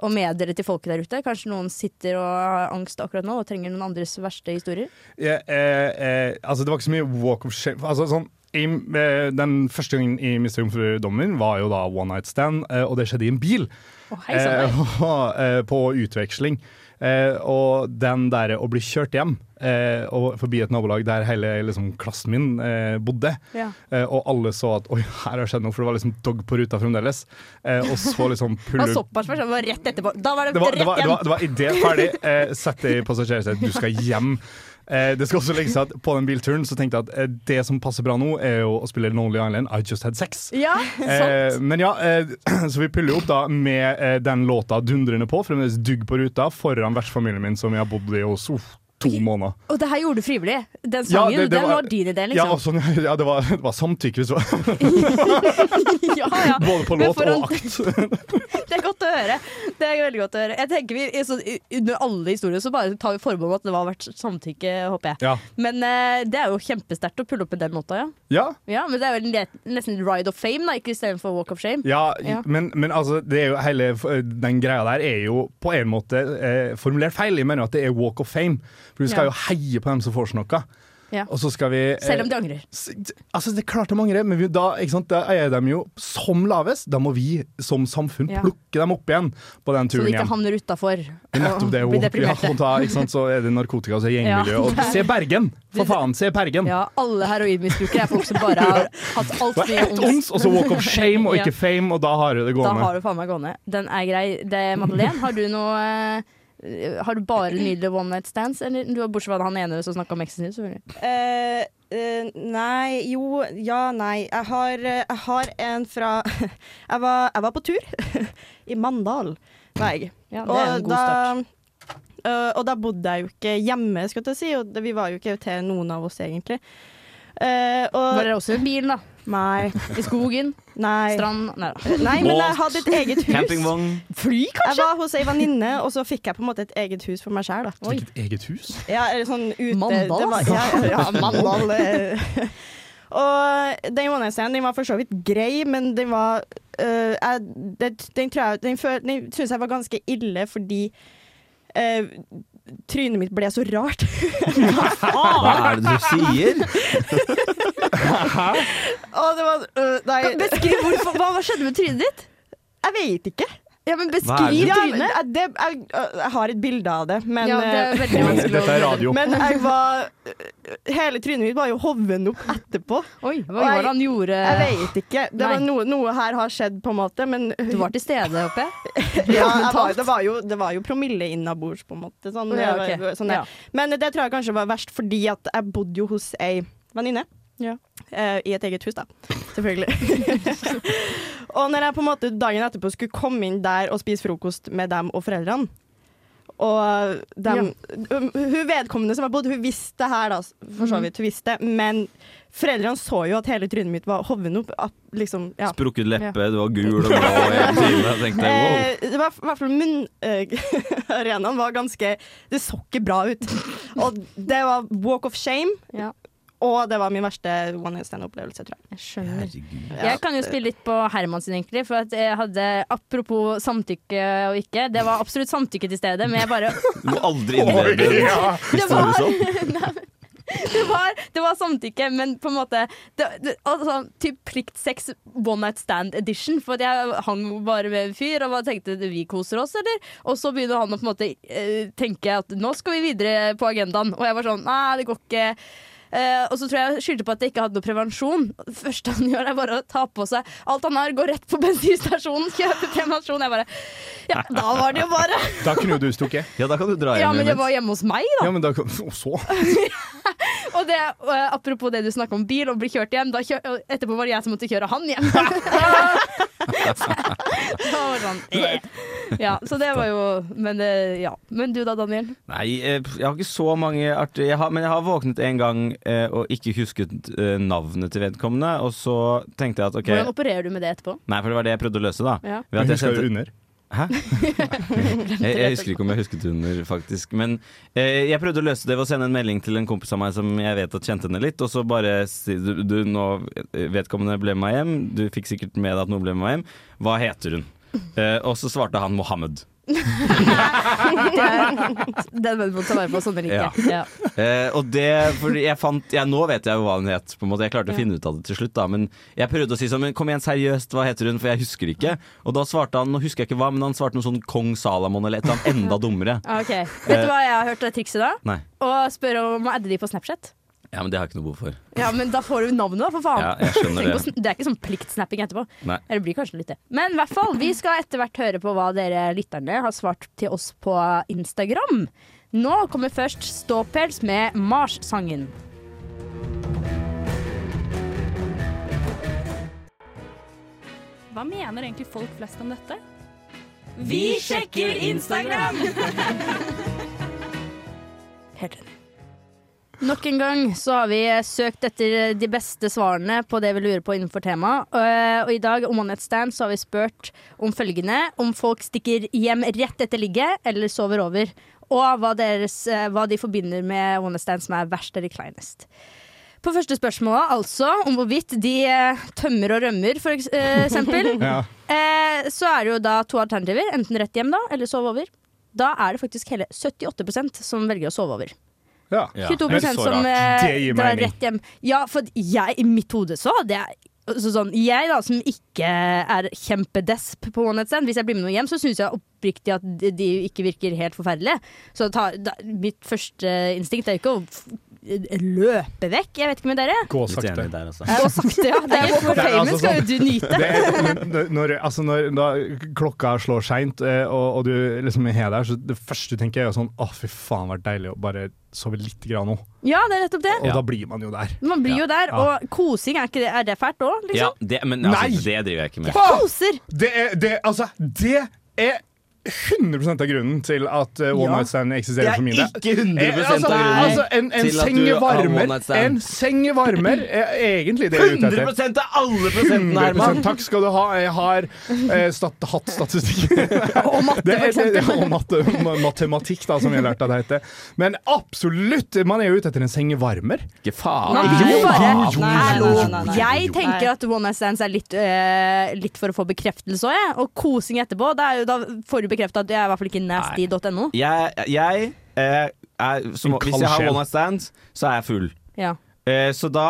Speaker 4: Og med dere til folket der ute. Kanskje noen sitter og har angst akkurat nå og trenger noen andres verste historier.
Speaker 6: Jeg, eh, eh, altså, det var ikke så mye walk of shame. Altså, sånn, i, eh, den første gangen i Mr. Jomfrudommen min var jo da one night stand, eh, [laughs] og det skjedde i en bil.
Speaker 4: Å, hei sann.
Speaker 6: Eh, og, eh, på utveksling. Eh, og den der å bli kjørt hjem eh, og forbi et nabolag der hele liksom, klassen min eh, bodde,
Speaker 14: Ja.
Speaker 6: eh, og alle så at oi, her har det skjedd noe, for det var liksom dog på ruta fremdeles. Eh, og så
Speaker 4: [laughs]
Speaker 6: liksom
Speaker 4: Det var
Speaker 6: puller
Speaker 4: såpass for det var rett etterpå. Da var det,
Speaker 6: det var, det
Speaker 4: rett
Speaker 6: var, det
Speaker 4: hjem.
Speaker 6: var, det var idé ferdig. Eh, sett deg i passasjersetet, du skal hjem. Eh, det skal også legges til at På den bilturen så tenkte jeg at eh, det som passer bra nå, er jo å spille Lonely Island, I Just Had Sex.
Speaker 4: Ja,
Speaker 6: Eh, men ja, eh, [clears throat] så vi puller jo opp da med eh, den låta dundrende på, fremdeles dugg på ruta, foran vertsfamilien min som jeg har bodd i hos uff, to måneder.
Speaker 4: Og det her gjorde du frivillig. Den sangen,
Speaker 6: det- det
Speaker 4: den var din idé, liksom.
Speaker 6: Ja, og sånn, [laughs] ja det, var, det var samtykke, så,
Speaker 4: [laughs] Ja, ja.
Speaker 6: altså. både på
Speaker 4: Men
Speaker 6: låt
Speaker 4: for en-
Speaker 6: og akt. [laughs]
Speaker 4: Det er godt å høre. Det er veldig godt å høre. Jeg tenker vi, i sånn- i- Under alle historier så bare tar vi forbehold om at det har vært samtykke, håper jeg.
Speaker 6: Ja.
Speaker 4: Men eh, det er jo kjempesterkt å pulle opp på den måten, ja.
Speaker 6: Ja,
Speaker 4: ja. Men det er vel net- nesten Ride of Fame, da, ikke istedenfor Walk of Shame.
Speaker 6: Ja,
Speaker 4: Ja.
Speaker 6: Men, men altså, det er jo hele den greia der er jo på en måte eh, formulert feil. Jeg mener jo at det er walk of fame. For vi skal
Speaker 4: Ja.
Speaker 6: jo heie på dem som får snokka.
Speaker 4: Ja.
Speaker 6: Og så skal vi eh,
Speaker 4: Selv om de angrer.
Speaker 6: s- Altså, det er klart de angrer, men vi, da, ikke sant, da er de jo som lavest. Da må vi som samfunn
Speaker 4: Ja.
Speaker 6: plukke dem opp igjen på den
Speaker 4: Så
Speaker 6: turen
Speaker 4: de ikke
Speaker 6: hjem.
Speaker 4: havner utafor.
Speaker 6: Det er nettopp det
Speaker 4: og blir
Speaker 6: hun ja,
Speaker 4: deprimerte.
Speaker 6: hun tar, ikke sant, Så er det narkotika og så er det
Speaker 4: Ja.
Speaker 6: gjengmiljø.
Speaker 4: [laughs]
Speaker 6: Og se Bergen! For faen, se Bergen!
Speaker 4: Ja, alle heroinmisbrukere er folk som bare har hatt altfor
Speaker 6: Det
Speaker 4: mye
Speaker 6: var ett ons, og så walk of shame og
Speaker 4: [laughs] Ja.
Speaker 6: ikke fame, og da har du det
Speaker 4: Da
Speaker 6: gående.
Speaker 4: har du faen meg gående. Den er grei. Det, Madeleine, har du noe eh, Har du bare nydelige one night stands? Eller, du har bortsett fra han ene som snakka om eksen sin.
Speaker 7: [laughs] Eh, eh, nei, jo, ja, nei. Jeg har, eh, jeg har en fra [laughs] jeg var, jeg var på tur [laughs] i Mandal, var jeg.
Speaker 4: Ja, det er en god start.
Speaker 7: eh, og da bodde jeg jo ikke hjemme, skal jeg si, og det- vi var jo ikke til noen av oss, egentlig. Eh, og,
Speaker 4: Var dere også i bilen, da?
Speaker 7: Nei.
Speaker 4: I
Speaker 7: [laughs]
Speaker 4: skogen? [laughs]
Speaker 7: Nei.
Speaker 4: Strand? Nei.
Speaker 7: Nei, men jeg hadde et eget hus.
Speaker 4: [laughs]
Speaker 5: Campingvogn.
Speaker 4: Fly,
Speaker 7: kanskje? Jeg var hos ei venninne, og så fikk jeg på en måte et eget hus for meg sjøl.
Speaker 6: Fikk et eget hus?
Speaker 7: Ja, eller sånn ute
Speaker 4: Mandal,
Speaker 7: det var,
Speaker 4: altså.
Speaker 7: ja, ja, ja, Mandal. eh. [laughs] Og den one night stand den var for så vidt grei, men den var eh, jeg, det, Den, tror jeg- den, føl- den syns jeg var ganske ille fordi eh, trynet mitt ble så
Speaker 4: [laughs]
Speaker 7: rart.
Speaker 5: Hva er det du sier?
Speaker 7: Og det var eh, nei.
Speaker 4: Kan- beskriv hvorfor- hva, hva skjedde med trynet ditt?
Speaker 7: Jeg vet ikke.
Speaker 4: Ja, men
Speaker 7: Hva er det?
Speaker 4: beskriv
Speaker 7: Ja, men,
Speaker 4: trynet!
Speaker 7: eh, det, jeg, jeg har et bilde av det, men
Speaker 4: Ja, det er
Speaker 7: eh,
Speaker 4: veldig vanskelig
Speaker 6: Dette er å- radio.
Speaker 7: Men jeg var Hele trynet mitt var jo hovende opp etterpå.
Speaker 4: Oi, hva
Speaker 7: Og jeg-
Speaker 4: var det han gjorde?
Speaker 7: Jeg vet ikke. Det var
Speaker 4: Eh, Nei.
Speaker 7: noe, noe her har skjedd, på en måte, men
Speaker 4: Du var til stede, håper jeg?
Speaker 7: [laughs] ja, jeg var, det, var jo, det var jo promille innabords, på en måte. Sånn,
Speaker 4: Ja, ok.
Speaker 7: det var- sånn det.
Speaker 4: Ja.
Speaker 7: Men det tror jeg kanskje var verst, fordi at jeg bodde jo hos ei venninne. Eh, I et eget hus, da. Selvfølgelig. [laughs] og når jeg på en måte dagen etterpå skulle komme inn der og spise frokost med dem og foreldrene og dem, um, hun vedkommende som jeg bodde, hun visste det her, da, for så vidt. Hun visste, det, men foreldrene så jo at hele trynet mitt var hoven opp. at Liksom, ja.
Speaker 5: Sprukket leppe,
Speaker 7: Ja.
Speaker 5: du var gul og blå i en time. Jeg tenkte wow.
Speaker 7: Eh, det var i hvert fall [laughs] munnarenaen var ganske Det så ikke bra ut. Og det var walk of shame. Og det var min verste one night stand-opplevelse, tror
Speaker 4: Jeg
Speaker 7: jeg.
Speaker 4: skjønner. Jeg kan jo spille litt på Herman sin, egentlig. For at jeg hadde, apropos samtykke og ikke, det var absolutt samtykke til stede, men jeg bare
Speaker 5: Du må aldri innlede
Speaker 6: Oi,
Speaker 4: [laughs]
Speaker 5: en
Speaker 6: ja.
Speaker 5: historie sånn.
Speaker 4: det, var, det var samtykke, men på en måte det, det, altså, Typ pliktsex one night stand edition. For at jeg hang bare med en fyr og bare tenkte vi koser oss, eller? Og så begynner han å på en måte eh, tenke at nå skal vi videre på agendaen. Og jeg var sånn nei, det går ikke. Eh, og så tror jeg jeg skyldte på at jeg ikke hadde noe prevensjon. Det første han gjør, er bare å ta på seg alt han har, gå rett på bensinstasjonen, kjøpe [laughs] prevensjon. Jeg bare Ja, da var det jo bare
Speaker 6: Da kunne jo du stukket.
Speaker 5: Ja, da kan du dra
Speaker 4: Ja, men det var hjemme hos meg, da.
Speaker 6: Ja, men da, og så
Speaker 4: Og det, og, eh, apropos det du snakket om bil og bli kjørt hjem, da kjør, og etterpå var det jeg som måtte kjøre han hjem. [laughs] det var bare sånn, eh. ja, så det var jo Men, eh, ja. men du da, Daniel?
Speaker 5: Nei, eh, jeg har ikke så mange artige jeg har, Men jeg har våknet en gang eh, og ikke husket eh, navnet til vedkommende. Og så tenkte jeg at ok
Speaker 4: Hvordan opererer du med det etterpå?
Speaker 5: Nei, for det var det jeg prøvde å løse, da.
Speaker 4: Ja.
Speaker 5: Ved at
Speaker 6: Men
Speaker 5: jeg
Speaker 6: husker
Speaker 5: sendte-
Speaker 6: du under?
Speaker 5: Hæ? jeg, jeg husker ikke om jeg husket under, faktisk. Men eh, jeg prøvde å løse det ved å sende en melding til en kompis av meg som jeg vet at kjente henne litt, og så bare si eh, du, du, nå vedkommende ble med meg hjem, du fikk sikkert med deg at noen ble med meg hjem, hva heter hun? Eh, og så svarte han Mohammed.
Speaker 14: [laughs] Den vennen må ta vare på, sånn sånne
Speaker 5: Ja.
Speaker 14: liker jeg. Ja.
Speaker 5: Eh, og det, fordi jeg fant ja, Nå vet jeg jo hva hun het, på en måte. Jeg klarte å finne ut av det til slutt, da. Men jeg prøvde å si sånn, men kom igjen, seriøst, hva heter hun? For jeg husker ikke. Og da svarte han, nå husker jeg ikke hva, men han svarte noe sånn Kong Salamon eller et eller annet enda dummere.
Speaker 4: [laughs] Ok, Vet du hva jeg har hørt av trikset da?
Speaker 5: Nei.
Speaker 4: Å spørre om å adde de på Snapchat.
Speaker 5: Ja, men det har jeg ikke noe behov for.
Speaker 4: Ja, men da får du navnet, da, for faen.
Speaker 5: Ja, jeg skjønner
Speaker 4: Tenk på
Speaker 5: det.
Speaker 4: sn- det er ikke sånn pliktsnapping etterpå.
Speaker 5: Nei.
Speaker 4: Eller det blir kanskje litt det. Men i hvert fall, vi skal etter hvert høre på hva dere lytterne har svart til oss på Instagram. Nå kommer først Ståpels med Mars-sangen.
Speaker 15: Hva mener egentlig folk flest om dette?
Speaker 16: Vi sjekker Instagram!
Speaker 4: Helt enig. Nok en gang så har vi søkt etter de beste svarene på det vi lurer på innenfor temaet. Eh, Og i dag om One Night Stand så har vi spurt om følgende. Om folk stikker hjem rett etter ligget eller sover over. Og hva, deres, eh, hva de forbinder med One Night Stand som er verst eller kleinest. På første spørsmål, altså, om hvorvidt de eh, tømmer og rømmer, for eks- eh, eksempel,
Speaker 6: Ja.
Speaker 4: eh, så er det jo da to alternativer. Enten rett hjem, da, eller sove over. Da er det faktisk hele 78 som velger å sove over.
Speaker 6: Ja.
Speaker 4: 22 som eh, drar rett hjem. Ja, for jeg, i mitt hode så hadde jeg så sånn, Jeg da, som ikke er kjempedesp på one night stand, hvis jeg blir med noen hjem, så syns jeg oppriktig at de, de ikke virker helt forferdelige. Så ta, da, mitt første eh, instinkt er jo ikke å f eh, løpe vekk. Jeg vet ikke med dere.
Speaker 6: Gå sakte.
Speaker 5: Litt enig der, altså.
Speaker 4: Gå sakte, ja. Det er jo for
Speaker 6: [laughs] Det er
Speaker 4: famen
Speaker 6: altså
Speaker 4: skal jo
Speaker 6: sånn-
Speaker 4: du nyte.
Speaker 6: Det er- når- når, altså når da klokka slår seint, eh, og, og du liksom er der, så det første du tenker er jo sånn Å, fy faen, det vært deilig å bare sove litt grann nå.
Speaker 4: Ja, det er nettopp det.
Speaker 6: Og da blir man jo der.
Speaker 4: Man blir jo der.
Speaker 6: Ja.
Speaker 4: Og kosing, er, ikke det, er det fælt òg, liksom?
Speaker 5: Ja, det, men altså,
Speaker 6: Nei!
Speaker 5: det driver jeg ikke med.
Speaker 6: Faen!
Speaker 4: Koser!
Speaker 6: Det er, det, altså, det er 100 av grunnen til at eh, one
Speaker 5: Ja.
Speaker 6: night stand eksisterer
Speaker 5: Det er
Speaker 6: for min del.
Speaker 5: ikke 100%
Speaker 6: Eh, altså,
Speaker 5: av grunnen
Speaker 6: altså, en, en
Speaker 5: til at
Speaker 6: senge
Speaker 5: du har one
Speaker 6: varmer.
Speaker 5: night stand.
Speaker 6: En senge varmer er egentlig det jeg er ute etter.
Speaker 5: 100% av alle prosentene, Herman.
Speaker 6: 100% Takk skal du ha. Jeg har eh, stat, hatt
Speaker 4: [laughs]
Speaker 6: statistikk.
Speaker 4: og
Speaker 6: matte, Og matte, ma- matematikk, da, som jeg lærte at det heter. Men absolutt, man er jo ute etter en senge varmer.
Speaker 5: Ikke faen.
Speaker 4: Nei,
Speaker 6: jo,
Speaker 4: ikke bare.
Speaker 6: jo, jo,
Speaker 4: Nei,
Speaker 6: jo, jo,
Speaker 4: nei,
Speaker 6: jo.
Speaker 4: nei. Jeg tenker at one night stands er litt, øh, litt for å få bekreftelse òg, jeg. Og kosing etterpå. Da, er jo, da får du bekrefta at jeg er i hvert fall ikke nasty.no.
Speaker 5: Jeg, jeg eh, er, som,
Speaker 6: En kald
Speaker 5: Hvis jeg har
Speaker 6: sjel.
Speaker 5: one night stand, så er jeg full.
Speaker 4: Ja.
Speaker 5: Eh, så da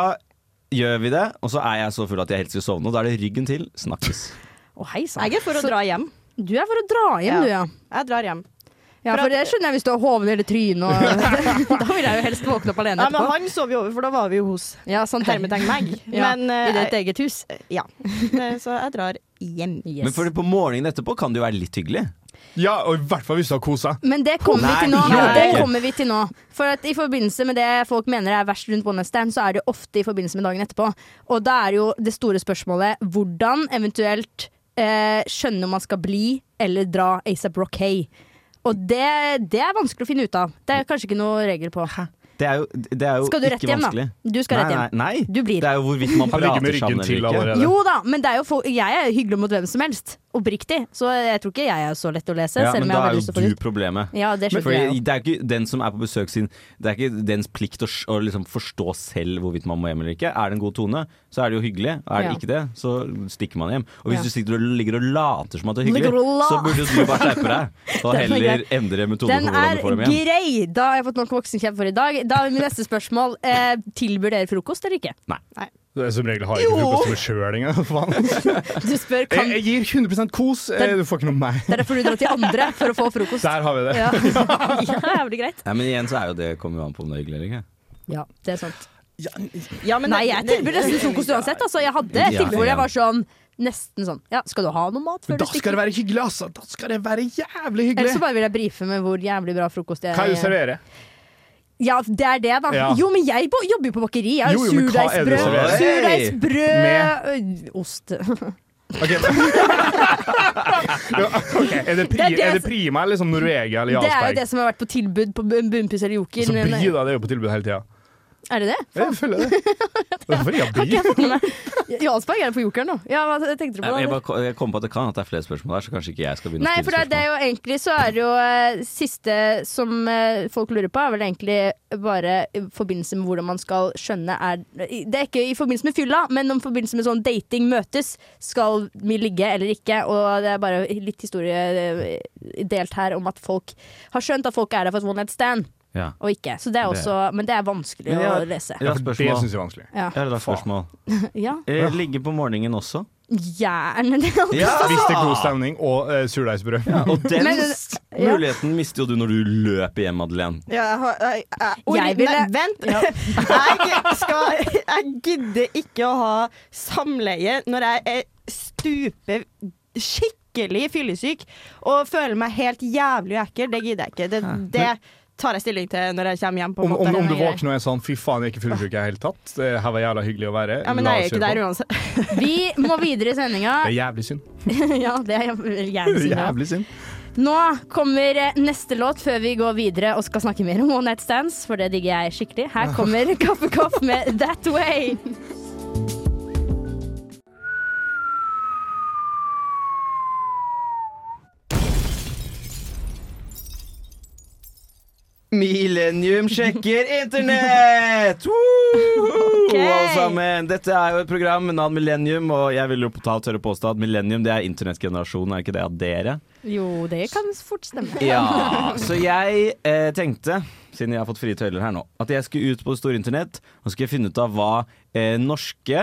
Speaker 5: gjør vi det, og så er jeg så full at jeg helst vil sovne. Og da er det ryggen til. Snakkes.
Speaker 4: Å, hei sann.
Speaker 7: Jeg er for å
Speaker 4: Så-
Speaker 7: dra hjem.
Speaker 4: Du er for å dra hjem,
Speaker 7: Ja.
Speaker 4: du, ja.
Speaker 7: Jeg drar hjem.
Speaker 4: Ja,
Speaker 7: For
Speaker 4: for
Speaker 7: at-
Speaker 4: det skjønner jeg hvis du har hoven eller trynet og Da vil jeg jo helst våkne opp alene
Speaker 7: Ja, men
Speaker 4: etterpå.
Speaker 7: han sov jo over, for da var vi jo hos
Speaker 4: Ja, sant det.
Speaker 7: hermetegn meg. [laughs]
Speaker 4: Ja,
Speaker 7: Men, eh,
Speaker 4: I ditt eget hus.
Speaker 7: Ja. Eh, [laughs] Så jeg drar hjem.
Speaker 5: Men fordi på morgenen etterpå kan det jo være litt hyggelig.
Speaker 6: Ja, og i hvert fall hvis du har kosa.
Speaker 4: Men det kommer vi til nå.
Speaker 5: Nei, jo,
Speaker 4: Det
Speaker 5: ikke.
Speaker 4: kommer vi til nå. For at I forbindelse med det folk mener er verst rundt one night stand, så er det jo ofte i forbindelse med dagen etterpå. Og da er jo det store spørsmålet hvordan eventuelt eh, skjønne om man skal bli eller dra ASAP Rockay. Og det, det er vanskelig å finne ut av. Det er kanskje ikke noe regel på.
Speaker 5: Det er jo, det er jo
Speaker 4: Skal du
Speaker 5: ikke
Speaker 4: rett hjem, da?
Speaker 5: vanskelig.
Speaker 4: Du skal
Speaker 5: nei,
Speaker 4: rett hjem.
Speaker 5: Nei, nei.
Speaker 4: Du blir.
Speaker 5: Det er jo hvorvidt man
Speaker 6: Han ligger med
Speaker 5: prater
Speaker 6: ryggen
Speaker 5: sammen
Speaker 6: til
Speaker 5: eller ikke.
Speaker 6: allerede.
Speaker 4: Jo da, men det er jo for, jeg er hyggelig mot hvem som helst. Oppriktig. Så jeg tror ikke jeg er så lett å lese.
Speaker 5: Ja,
Speaker 4: selv om
Speaker 5: men
Speaker 4: jeg
Speaker 5: da
Speaker 4: har
Speaker 5: er
Speaker 4: veldig lyst til å få
Speaker 5: jo
Speaker 4: det
Speaker 5: du
Speaker 4: ut.
Speaker 5: problemet.
Speaker 4: Ja, det skjønner
Speaker 5: Fordi
Speaker 4: jeg jo.
Speaker 5: det er ikke den som er på besøk sin Det er ikke dens plikt å, s- å liksom forstå selv hvorvidt man må hjem eller ikke. Er det en god tone, så er det jo hyggelig. Er det
Speaker 4: Ja.
Speaker 5: ikke det, så stikker man hjem. Og hvis
Speaker 4: Ja.
Speaker 5: du sitter og ligger og later som at det er hyggelig,
Speaker 4: Ligger og la-
Speaker 5: så burde du bare skjerpe
Speaker 4: [laughs]
Speaker 5: deg. Og
Speaker 4: Den er
Speaker 5: heller
Speaker 4: grei.
Speaker 5: endre metode
Speaker 4: Den
Speaker 5: for hvordan
Speaker 4: er
Speaker 5: du får dem hjem.
Speaker 4: grei! Da har jeg fått nok voksenkjeft for i dag. Da er mitt neste spørsmål eh, Tilbyr dere frokost eller ikke?
Speaker 5: Nei.
Speaker 6: Det er Som regel har jeg ikke
Speaker 4: Jo.
Speaker 6: frokost med sjøl engang. for faen.
Speaker 4: Du spør
Speaker 6: Jeg,
Speaker 4: kan
Speaker 6: jeg gir 100 kos, eh, du får ikke noe med meg.
Speaker 4: Det er derfor du drar til andre for å få frokost.
Speaker 6: Der har vi det. [laughs]
Speaker 4: Ja, ja jævlig greit.
Speaker 5: Nei, men igjen så er jo det kommer jo an på om det er hyggelig eller ikke.
Speaker 4: Ja, det er sant.
Speaker 7: Ja, men
Speaker 4: Nei,
Speaker 7: det-
Speaker 4: jeg tilbyr
Speaker 7: det-
Speaker 4: nesten frokost uansett. Altså, jeg hadde
Speaker 5: Ja,
Speaker 4: et tilbud hvor
Speaker 5: ja.
Speaker 4: jeg var sånn nesten sånn Ja, skal du ha noe mat før
Speaker 6: Men da
Speaker 4: du
Speaker 6: skal
Speaker 4: stikker?
Speaker 6: det være hyggelig, altså! Da skal det være jævlig
Speaker 4: Eller så
Speaker 6: hyggelig!
Speaker 4: bare vil jeg brife med hvor jævlig bra frokost jeg
Speaker 6: Hva er det du serverer?
Speaker 4: Ja, det er det, da.
Speaker 6: Ja.
Speaker 4: Jo, men jeg bo- jobber jo på bakeri. Jeg har
Speaker 6: Jo,
Speaker 4: jo
Speaker 6: jo, men hva er det du
Speaker 4: surdeigsbrød, surdeigsbrød
Speaker 6: serverer?
Speaker 4: øh, Ost. [laughs]
Speaker 6: [laughs] Ok, Er det, pri,
Speaker 4: Det er det
Speaker 6: er det
Speaker 4: som-
Speaker 6: Prima eller liksom Norvegia eller
Speaker 4: Det er jo
Speaker 6: Jarlsberg?
Speaker 4: det som har vært på tilbud på Bun- Bunnpris eller Joker.
Speaker 6: Så
Speaker 4: men-
Speaker 6: blir da det jo på tilbud hele tida.
Speaker 4: Er det det?
Speaker 6: [laughs] Jeg føler det. Hvorfor er jeg bi?
Speaker 4: Jarlsberg er det på jokeren nå. Ja, hva tenkte du på?
Speaker 5: Jeg,
Speaker 4: da?
Speaker 5: bare, ko- jeg kom på at det kan at det er flere spørsmål her, så kanskje ikke jeg skal begynne
Speaker 4: Nei,
Speaker 5: å
Speaker 4: for det,
Speaker 5: stille
Speaker 4: er- det er jo egentlig så er det jo eh, siste som eh, folk lurer på, er vel egentlig bare i forbindelse med hvordan man skal skjønne er Det er ikke i forbindelse med fylla, men om forbindelse med sånn dating møtes. Skal vi ligge eller ikke? Og det er bare litt historie eh, delt her om at folk har skjønt at folk er der for et one night stand.
Speaker 5: Ja.
Speaker 4: Og ikke. Så det er
Speaker 5: Det-
Speaker 4: også, men det er vanskelig
Speaker 5: Men jeg-
Speaker 4: å lese.
Speaker 5: jeg har
Speaker 6: Ja, for det
Speaker 5: spørsmål.
Speaker 6: synes jeg er vanskelig.
Speaker 4: Ja.
Speaker 5: Jeg har et annet spørsmål.
Speaker 4: ja.
Speaker 5: Eh, Ligge på morgenen også?
Speaker 4: Gjerne det. altså.
Speaker 6: Hvis det er god stemning og eh, surdeigsbrød.
Speaker 5: Og
Speaker 4: [laughs]
Speaker 5: den
Speaker 4: Men-
Speaker 5: s-
Speaker 4: ja.
Speaker 5: muligheten mister jo du når du løper hjem, Madeleine.
Speaker 7: Ja, jeg har- jeg- jeg- oi,
Speaker 4: Jeg ville-
Speaker 7: nei, Vent!
Speaker 4: [laughs]
Speaker 7: Jeg, skal, jeg gidder ikke å ha samleie når jeg er stupe skikkelig fyllesyk og føler meg helt jævlig ekkel. Det gidder jeg ikke. Det, det tar jeg stilling til når jeg kommer hjem. på
Speaker 6: [laughs]
Speaker 7: en
Speaker 6: Om,
Speaker 7: måte.
Speaker 6: om, om du våkner og er sånn 'fy faen, jeg er ikke fullsjuk i det hele tatt', eh, her var jævla hyggelig å være,
Speaker 7: Ja, men
Speaker 6: la
Speaker 7: jeg er
Speaker 6: oss
Speaker 7: jo ikke
Speaker 6: kjøre
Speaker 7: der
Speaker 6: på.
Speaker 7: uansett.
Speaker 4: Vi må videre i sendinga.
Speaker 6: Det er jævlig synd.
Speaker 4: [laughs] ja, det er jæv- jævlig synd. ja.
Speaker 6: Jævlig synd.
Speaker 4: Nå kommer eh, neste låt før vi går videre og skal snakke mer om One Night Stands, for det digger jeg skikkelig. Her kommer Kaffekopp med That Way.
Speaker 5: Millennium sjekker [laughs] internett! Woohoo!
Speaker 9: Ok.
Speaker 5: Alle sammen. Dette er jo et program med navn Millennium, og jeg vil jo på- ta og tørre påstå at Millennium det er internettgenerasjonen, er ikke det av dere?
Speaker 4: Jo, det kan fort stemme.
Speaker 5: [laughs] Ja, så jeg eh, tenkte, siden jeg har fått frie tøyler her nå, at jeg skulle ut på det store internett og skulle finne ut av hva eh, norske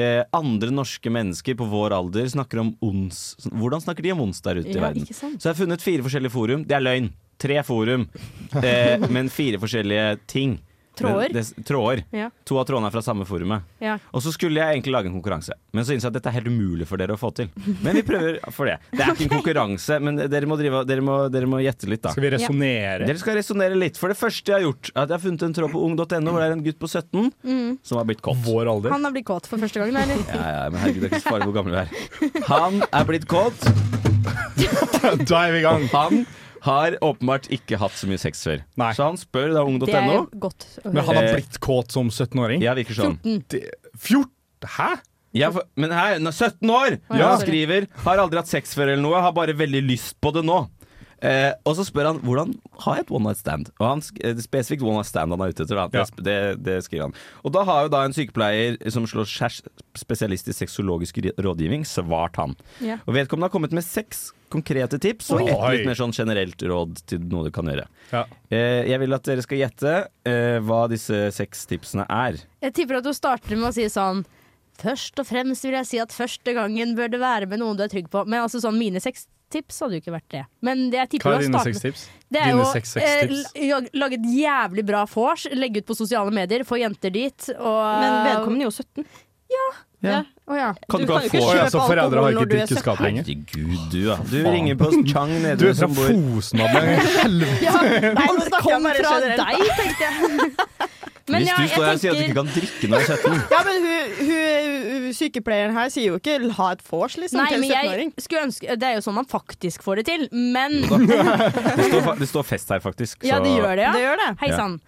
Speaker 5: eh, andre norske mennesker på vår alder snakker om ons... Hvordan snakker de om ons der ute i
Speaker 9: Ja,
Speaker 5: verden?
Speaker 9: ikke sant?
Speaker 5: Så jeg har funnet fire forskjellige forum. Det er løgn. Tre forum,
Speaker 9: [laughs]
Speaker 5: eh, men fire forskjellige ting.
Speaker 4: Tråder?
Speaker 5: Men det- Tråder.
Speaker 4: Ja.
Speaker 5: To av trådene er fra samme forumet.
Speaker 4: Ja.
Speaker 5: Og så skulle jeg egentlig lage en konkurranse, men så innså jeg at dette er helt umulig for dere å få til. Men vi prøver for det. Det
Speaker 4: [laughs]
Speaker 5: er ikke en konkurranse, men dere må, drive, dere må, dere må gjette litt, da.
Speaker 6: Skal vi resonnere?
Speaker 5: Dere skal resonnere litt. For det første jeg har gjort, er at jeg har funnet en tråd på ung.no hvor det er en gutt på 17
Speaker 4: Mm.
Speaker 5: som har blitt kåt.
Speaker 6: Vår alder.
Speaker 4: Han har blitt kåt for første gang, eller?
Speaker 5: Ja, ja, men herregud, det er ikke så farlig hvor gammel du er. Han er blitt kåt.
Speaker 6: [laughs] da er vi i gang.
Speaker 5: Og han har åpenbart ikke hatt så mye sex før. Så han spør da ung.no.
Speaker 4: Det er jo godt å
Speaker 6: Men han har
Speaker 5: Eh,
Speaker 6: blitt kåt som 17-åring?
Speaker 5: Ja, virker sånn.
Speaker 4: 14.
Speaker 6: Det- 14? Hæ?
Speaker 5: Ja, for, men her, nå- 17 år!
Speaker 6: Å, ja,
Speaker 5: Han
Speaker 6: sorry.
Speaker 5: skriver Har aldri hatt sex før eller noe, har bare veldig lyst på det nå. Eh, og så spør han hvordan har jeg et one night stand. Og han, sk- eh, det er spesifikt one night stand han er ute etter. Da. Det, sp- det, det skriver han. Og da har jo da en sykepleier som slår skjærs spesialist i sexologisk ri- rådgivning, svart han.
Speaker 9: Ja.
Speaker 5: Og vedkommende har kommet med seks konkrete tips og
Speaker 9: Oi.
Speaker 5: ett litt mer sånn generelt råd til noe du kan gjøre.
Speaker 6: Ja.
Speaker 5: Eh, jeg vil at dere skal gjette eh, hva disse seks tipsene er.
Speaker 4: Jeg tipper at hun starter med å si sånn Først og fremst vil jeg si at første gangen bør det være med noen du er trygg på. Men altså sånn mine sextips hadde jo ikke vært det. Men det jeg tipper
Speaker 6: Hva er
Speaker 4: hun
Speaker 6: dine
Speaker 4: starter-
Speaker 6: sextips?
Speaker 4: Det er
Speaker 6: Dine
Speaker 4: jo
Speaker 6: seks
Speaker 4: eh,
Speaker 6: sextips.
Speaker 4: la- lage et jævlig bra vors, legge ut på sosiale medier, få jenter dit og
Speaker 7: Men vedkommende er jo 17.
Speaker 5: Ja.
Speaker 4: Å ja.
Speaker 5: Kan du
Speaker 7: Du kan
Speaker 5: ikke få-
Speaker 7: jo ikke kjøpe
Speaker 6: altså,
Speaker 5: Ja, så
Speaker 7: alkohol
Speaker 5: foreldre har
Speaker 7: når
Speaker 5: ikke
Speaker 7: du er
Speaker 5: drikkeskap
Speaker 7: 17.
Speaker 5: lenger. Herregud, du, ja. Du
Speaker 6: Faen.
Speaker 5: ringer på Chang Nedre
Speaker 6: Du er fra
Speaker 5: som bor-
Speaker 6: Fosen, Madeleine. Helvete.
Speaker 4: Ja, [laughs]
Speaker 7: Nei,
Speaker 4: alt
Speaker 7: nå snakker
Speaker 4: kom
Speaker 7: jeg bare
Speaker 4: fra
Speaker 7: generelt, da.
Speaker 4: deg, tenkte jeg. [laughs] Men
Speaker 5: Hvis
Speaker 4: ja,
Speaker 5: du
Speaker 4: jeg
Speaker 5: står her og sier at du
Speaker 4: tenker-
Speaker 5: ikke kan drikke når du er 17
Speaker 7: Ja, men hun, hun, hun sykepleieren her sier jo ikke 'ha et vors', liksom,
Speaker 4: Nei,
Speaker 7: til en
Speaker 4: men
Speaker 7: 17-åring.
Speaker 4: jeg skulle ønske Det er jo sånn man faktisk får det til, men
Speaker 5: det står, fa- det står fest her, faktisk.
Speaker 4: Ja,
Speaker 5: så-
Speaker 4: det gjør det, ja.
Speaker 7: Det gjør det.
Speaker 4: Hei sann.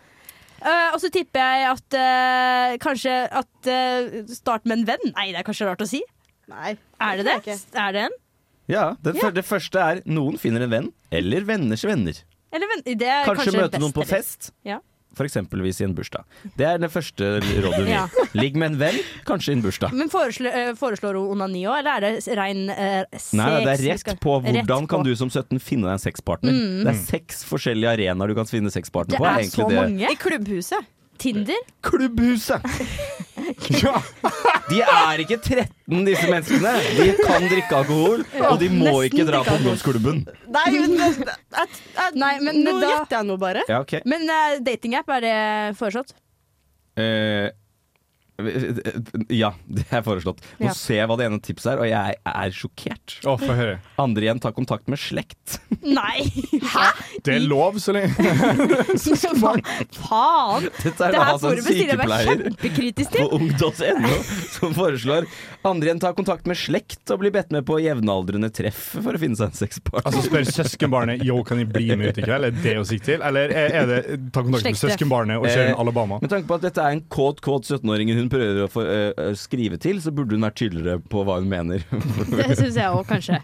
Speaker 4: Eh, og så tipper jeg at eh, kanskje at eh, start med en venn. Nei, det er kanskje rart å si.
Speaker 7: Nei,
Speaker 4: Er det
Speaker 7: det
Speaker 4: det?
Speaker 7: tror jeg
Speaker 4: Er det en?
Speaker 5: Ja, det, fyr- det første er noen finner en venn, eller venners venner.
Speaker 4: Eller venn? Det er
Speaker 5: Kanskje
Speaker 4: kanskje,
Speaker 5: møte
Speaker 4: best,
Speaker 5: noen på
Speaker 4: eller?
Speaker 5: fest?
Speaker 4: Ja.
Speaker 5: For eksempelvis i en bursdag. Det er det første rådet vi
Speaker 4: Ja.
Speaker 5: gir. Ligg med en venn, kanskje i en bursdag.
Speaker 4: Men foreslår, eh, foreslår hun onani òg, eller er det rein eh, sex?
Speaker 5: Nei, nei, det
Speaker 4: vi
Speaker 5: er
Speaker 4: skal-
Speaker 5: rett på
Speaker 4: rett
Speaker 5: hvordan kan
Speaker 4: på.
Speaker 5: du som 17 finne deg en sexpartner.
Speaker 4: Mm.
Speaker 5: Det er seks forskjellige arenaer du kan finne
Speaker 4: Det
Speaker 5: sexpartner på.
Speaker 4: er
Speaker 5: egentlig
Speaker 4: så
Speaker 5: det.
Speaker 4: mange. I
Speaker 7: klubbhuset.
Speaker 4: Tinder?
Speaker 5: Klubbhuset! De er ikke 13, disse menneskene. De kan drikke alkohol,
Speaker 7: Ja,
Speaker 5: og de må
Speaker 7: nesten
Speaker 5: ikke dra
Speaker 7: drikke
Speaker 5: på
Speaker 7: alkohol.
Speaker 5: ungdomsklubben.
Speaker 7: [laughs] Nei, men det- det- jeg- jeg-
Speaker 4: Nei, men
Speaker 7: Nå
Speaker 4: da-
Speaker 7: gjetter jeg nå bare.
Speaker 5: Ja, ok.
Speaker 4: Men eh, datingapp, er det foreslått?
Speaker 5: Eh, Ja, det er foreslått. Nå
Speaker 6: Ja.
Speaker 5: ser jeg hva det ene tipset er, og jeg er sjokkert.
Speaker 6: Å, få høre.
Speaker 5: Andre igjen, ta kontakt med slekt. [laughs]
Speaker 4: [laughs] Nei! Hæ?
Speaker 6: Det er lov så lenge
Speaker 4: [laughs] Hva faen?
Speaker 5: Dette er
Speaker 4: det her
Speaker 5: altså en
Speaker 4: forumet stiller jeg meg
Speaker 5: sykepleier
Speaker 4: kjempekritisk
Speaker 5: på
Speaker 4: til.
Speaker 5: ung.no som foreslår andre igjen ta kontakt med slekt og bli bedt med på jevnaldrende treff for å finne seg en sexpartner.
Speaker 6: Altså Spør søskenbarnet Yo, kan jeg bli med ut i kveld. Er det å sikte til? Eller er er det ta kontakt med
Speaker 5: Slekte.
Speaker 6: søskenbarnet og kjøre en
Speaker 5: Eh,
Speaker 6: Alabama?
Speaker 5: Med tanke på at dette er en kåt, kåt 17-åring hun prøver å få, eh, eh, skrive til, så burde hun vært tydeligere på hva hun mener.
Speaker 4: Det syns jeg òg, kanskje.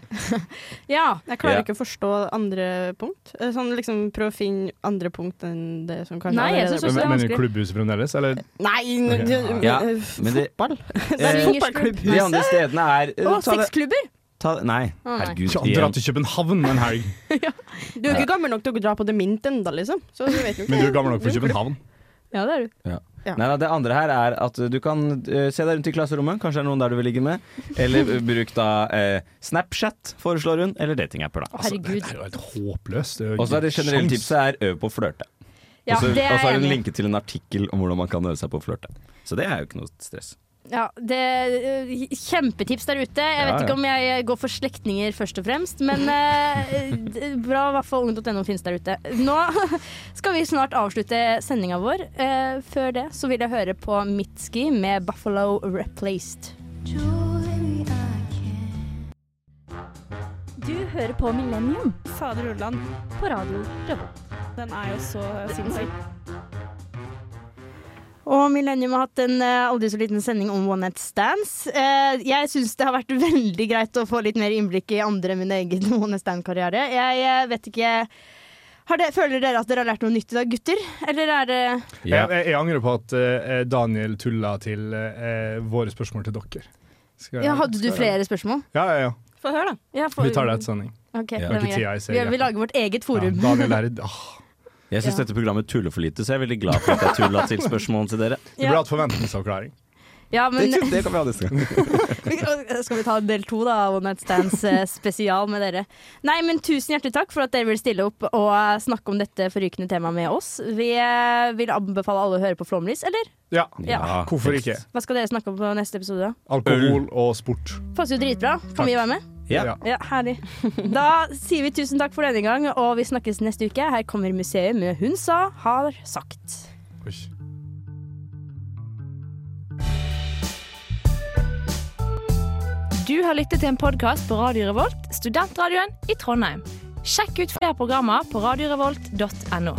Speaker 7: Ja, jeg klarer
Speaker 5: Ja.
Speaker 7: ikke å forstå andre punkt. Eh, Sånn liksom Prøv å finne andre punkt enn det som kanskje
Speaker 4: Nei, jeg
Speaker 7: allerede
Speaker 4: synes også
Speaker 7: er
Speaker 4: det
Speaker 7: bra.
Speaker 4: er
Speaker 6: Men i klubbhuset fremdeles, eller?
Speaker 7: Nei, n-
Speaker 6: Ok.
Speaker 7: du-
Speaker 5: Ja,
Speaker 7: eh,
Speaker 5: men det-
Speaker 7: fotball.
Speaker 5: Eh,
Speaker 7: Fotballklubb.
Speaker 5: De andre stedene er eh,
Speaker 7: Å,
Speaker 5: ta det-
Speaker 7: sexklubber!
Speaker 5: Ta, nei,
Speaker 7: Å, nei.
Speaker 5: herregud.
Speaker 6: Ja, dra til København en helg.
Speaker 7: Du er jo ikke gammel nok til å dra på The Mint ennå, liksom. Så du vet jo ikke.
Speaker 5: Men du er gammel nok for
Speaker 6: København.
Speaker 4: Ja, det er du.
Speaker 5: Ja.
Speaker 7: Ja.
Speaker 5: Nei, nei, det andre her er at du kan eh, se deg rundt i klasserommet, kanskje det er noen der du vil ligge med. Eller eh, bruk da eh, Snapchat, foreslår hun, eller datingapper, da.
Speaker 4: Herregud.
Speaker 6: Det er jo helt håpløst. Det er jo
Speaker 5: Og så er det
Speaker 6: ikke
Speaker 5: generelle
Speaker 6: sjans.
Speaker 5: tipset er øv på å flørte.
Speaker 4: Ja,
Speaker 5: og så
Speaker 4: det er
Speaker 5: og så har
Speaker 4: jeg
Speaker 5: hun
Speaker 4: enig i.
Speaker 5: linket til altså, en artikkel om hvordan man kan øve seg på å flørte. Så det er jo ikke noe stress.
Speaker 4: Ja, det eh, Kjempetips der ute. Jeg
Speaker 5: Ja,
Speaker 4: vet
Speaker 5: ja.
Speaker 4: ikke om jeg går for slektninger først og fremst, men eh, d- bra i hvert fall ung.no finnes der ute. Nå [laughs] skal vi snart avslutte sendinga vår. Eh, før det så vil jeg høre på Mitski med 'Buffalo Replaced'.
Speaker 16: Du hører på Millennium. Fader Ulland. På radio Revolt. Den er jo så sinnssyk.
Speaker 4: Og Millennium har hatt en eh, aldri så liten sending om one night stands. Eh, jeg syns det har vært [laughs] veldig greit å få litt mer innblikk i andre enn min egen [laughs] one night stand-karriere. Jeg eh, vet ikke har det, Føler dere at dere har lært noe nytt i dag, gutter? Eller er det
Speaker 6: Jeg, jeg, jeg angrer på at eh, Daniel tulla til eh, våre spørsmål til dere. Skal jeg-
Speaker 4: ja, Hadde du
Speaker 6: skal jeg-
Speaker 4: flere spørsmål?
Speaker 6: Ja, ja, ja.
Speaker 4: Få høre, da. Ja, få-
Speaker 6: Vi tar det etter sending.
Speaker 4: Ok,
Speaker 5: Ja.
Speaker 4: den
Speaker 5: Det er
Speaker 4: er
Speaker 5: ikke
Speaker 4: grei.
Speaker 5: tida jeg ser,
Speaker 4: vi,
Speaker 5: ja.
Speaker 4: vi lager vårt eget
Speaker 6: Ja,
Speaker 4: forum.
Speaker 6: Daniel er Ah, et åh.
Speaker 5: Jeg syns
Speaker 4: Ja.
Speaker 5: dette programmet tuller for lite, så jeg er veldig glad for at jeg tulla til spørsmålene til dere.
Speaker 4: Du burde Ja. hatt
Speaker 6: forventningsavklaring.
Speaker 4: Ja, men-
Speaker 5: det, det kan vi ha neste gang.
Speaker 4: [laughs] eh, Skal vi ta del to, da? One Night Stands eh, spesial med dere. Nei, men tusen hjertelig takk for at dere vil stille opp og eh, snakke om dette forrykende temaet med oss. Vi eh, vil anbefale alle å høre på Flåmlys, eller?
Speaker 6: Ja.
Speaker 4: Ja.
Speaker 6: Hvorfor ikke?
Speaker 4: Hva skal dere snakke om på neste episode? da?
Speaker 6: Alkohol og sport.
Speaker 4: Passer jo dritbra. Kan
Speaker 6: Takk.
Speaker 4: vi være med?
Speaker 6: Ja.
Speaker 4: ja.
Speaker 17: [laughs]
Speaker 4: Herlig. Da sier vi tusen takk for denne gang, og vi snakkes neste uke. Her kommer museet med Hun sa, har sagt.
Speaker 17: Du har lyttet til en podkast på Radio Revolt, studentradioen i Trondheim. Sjekk ut flere programmer på radiorevolt.no.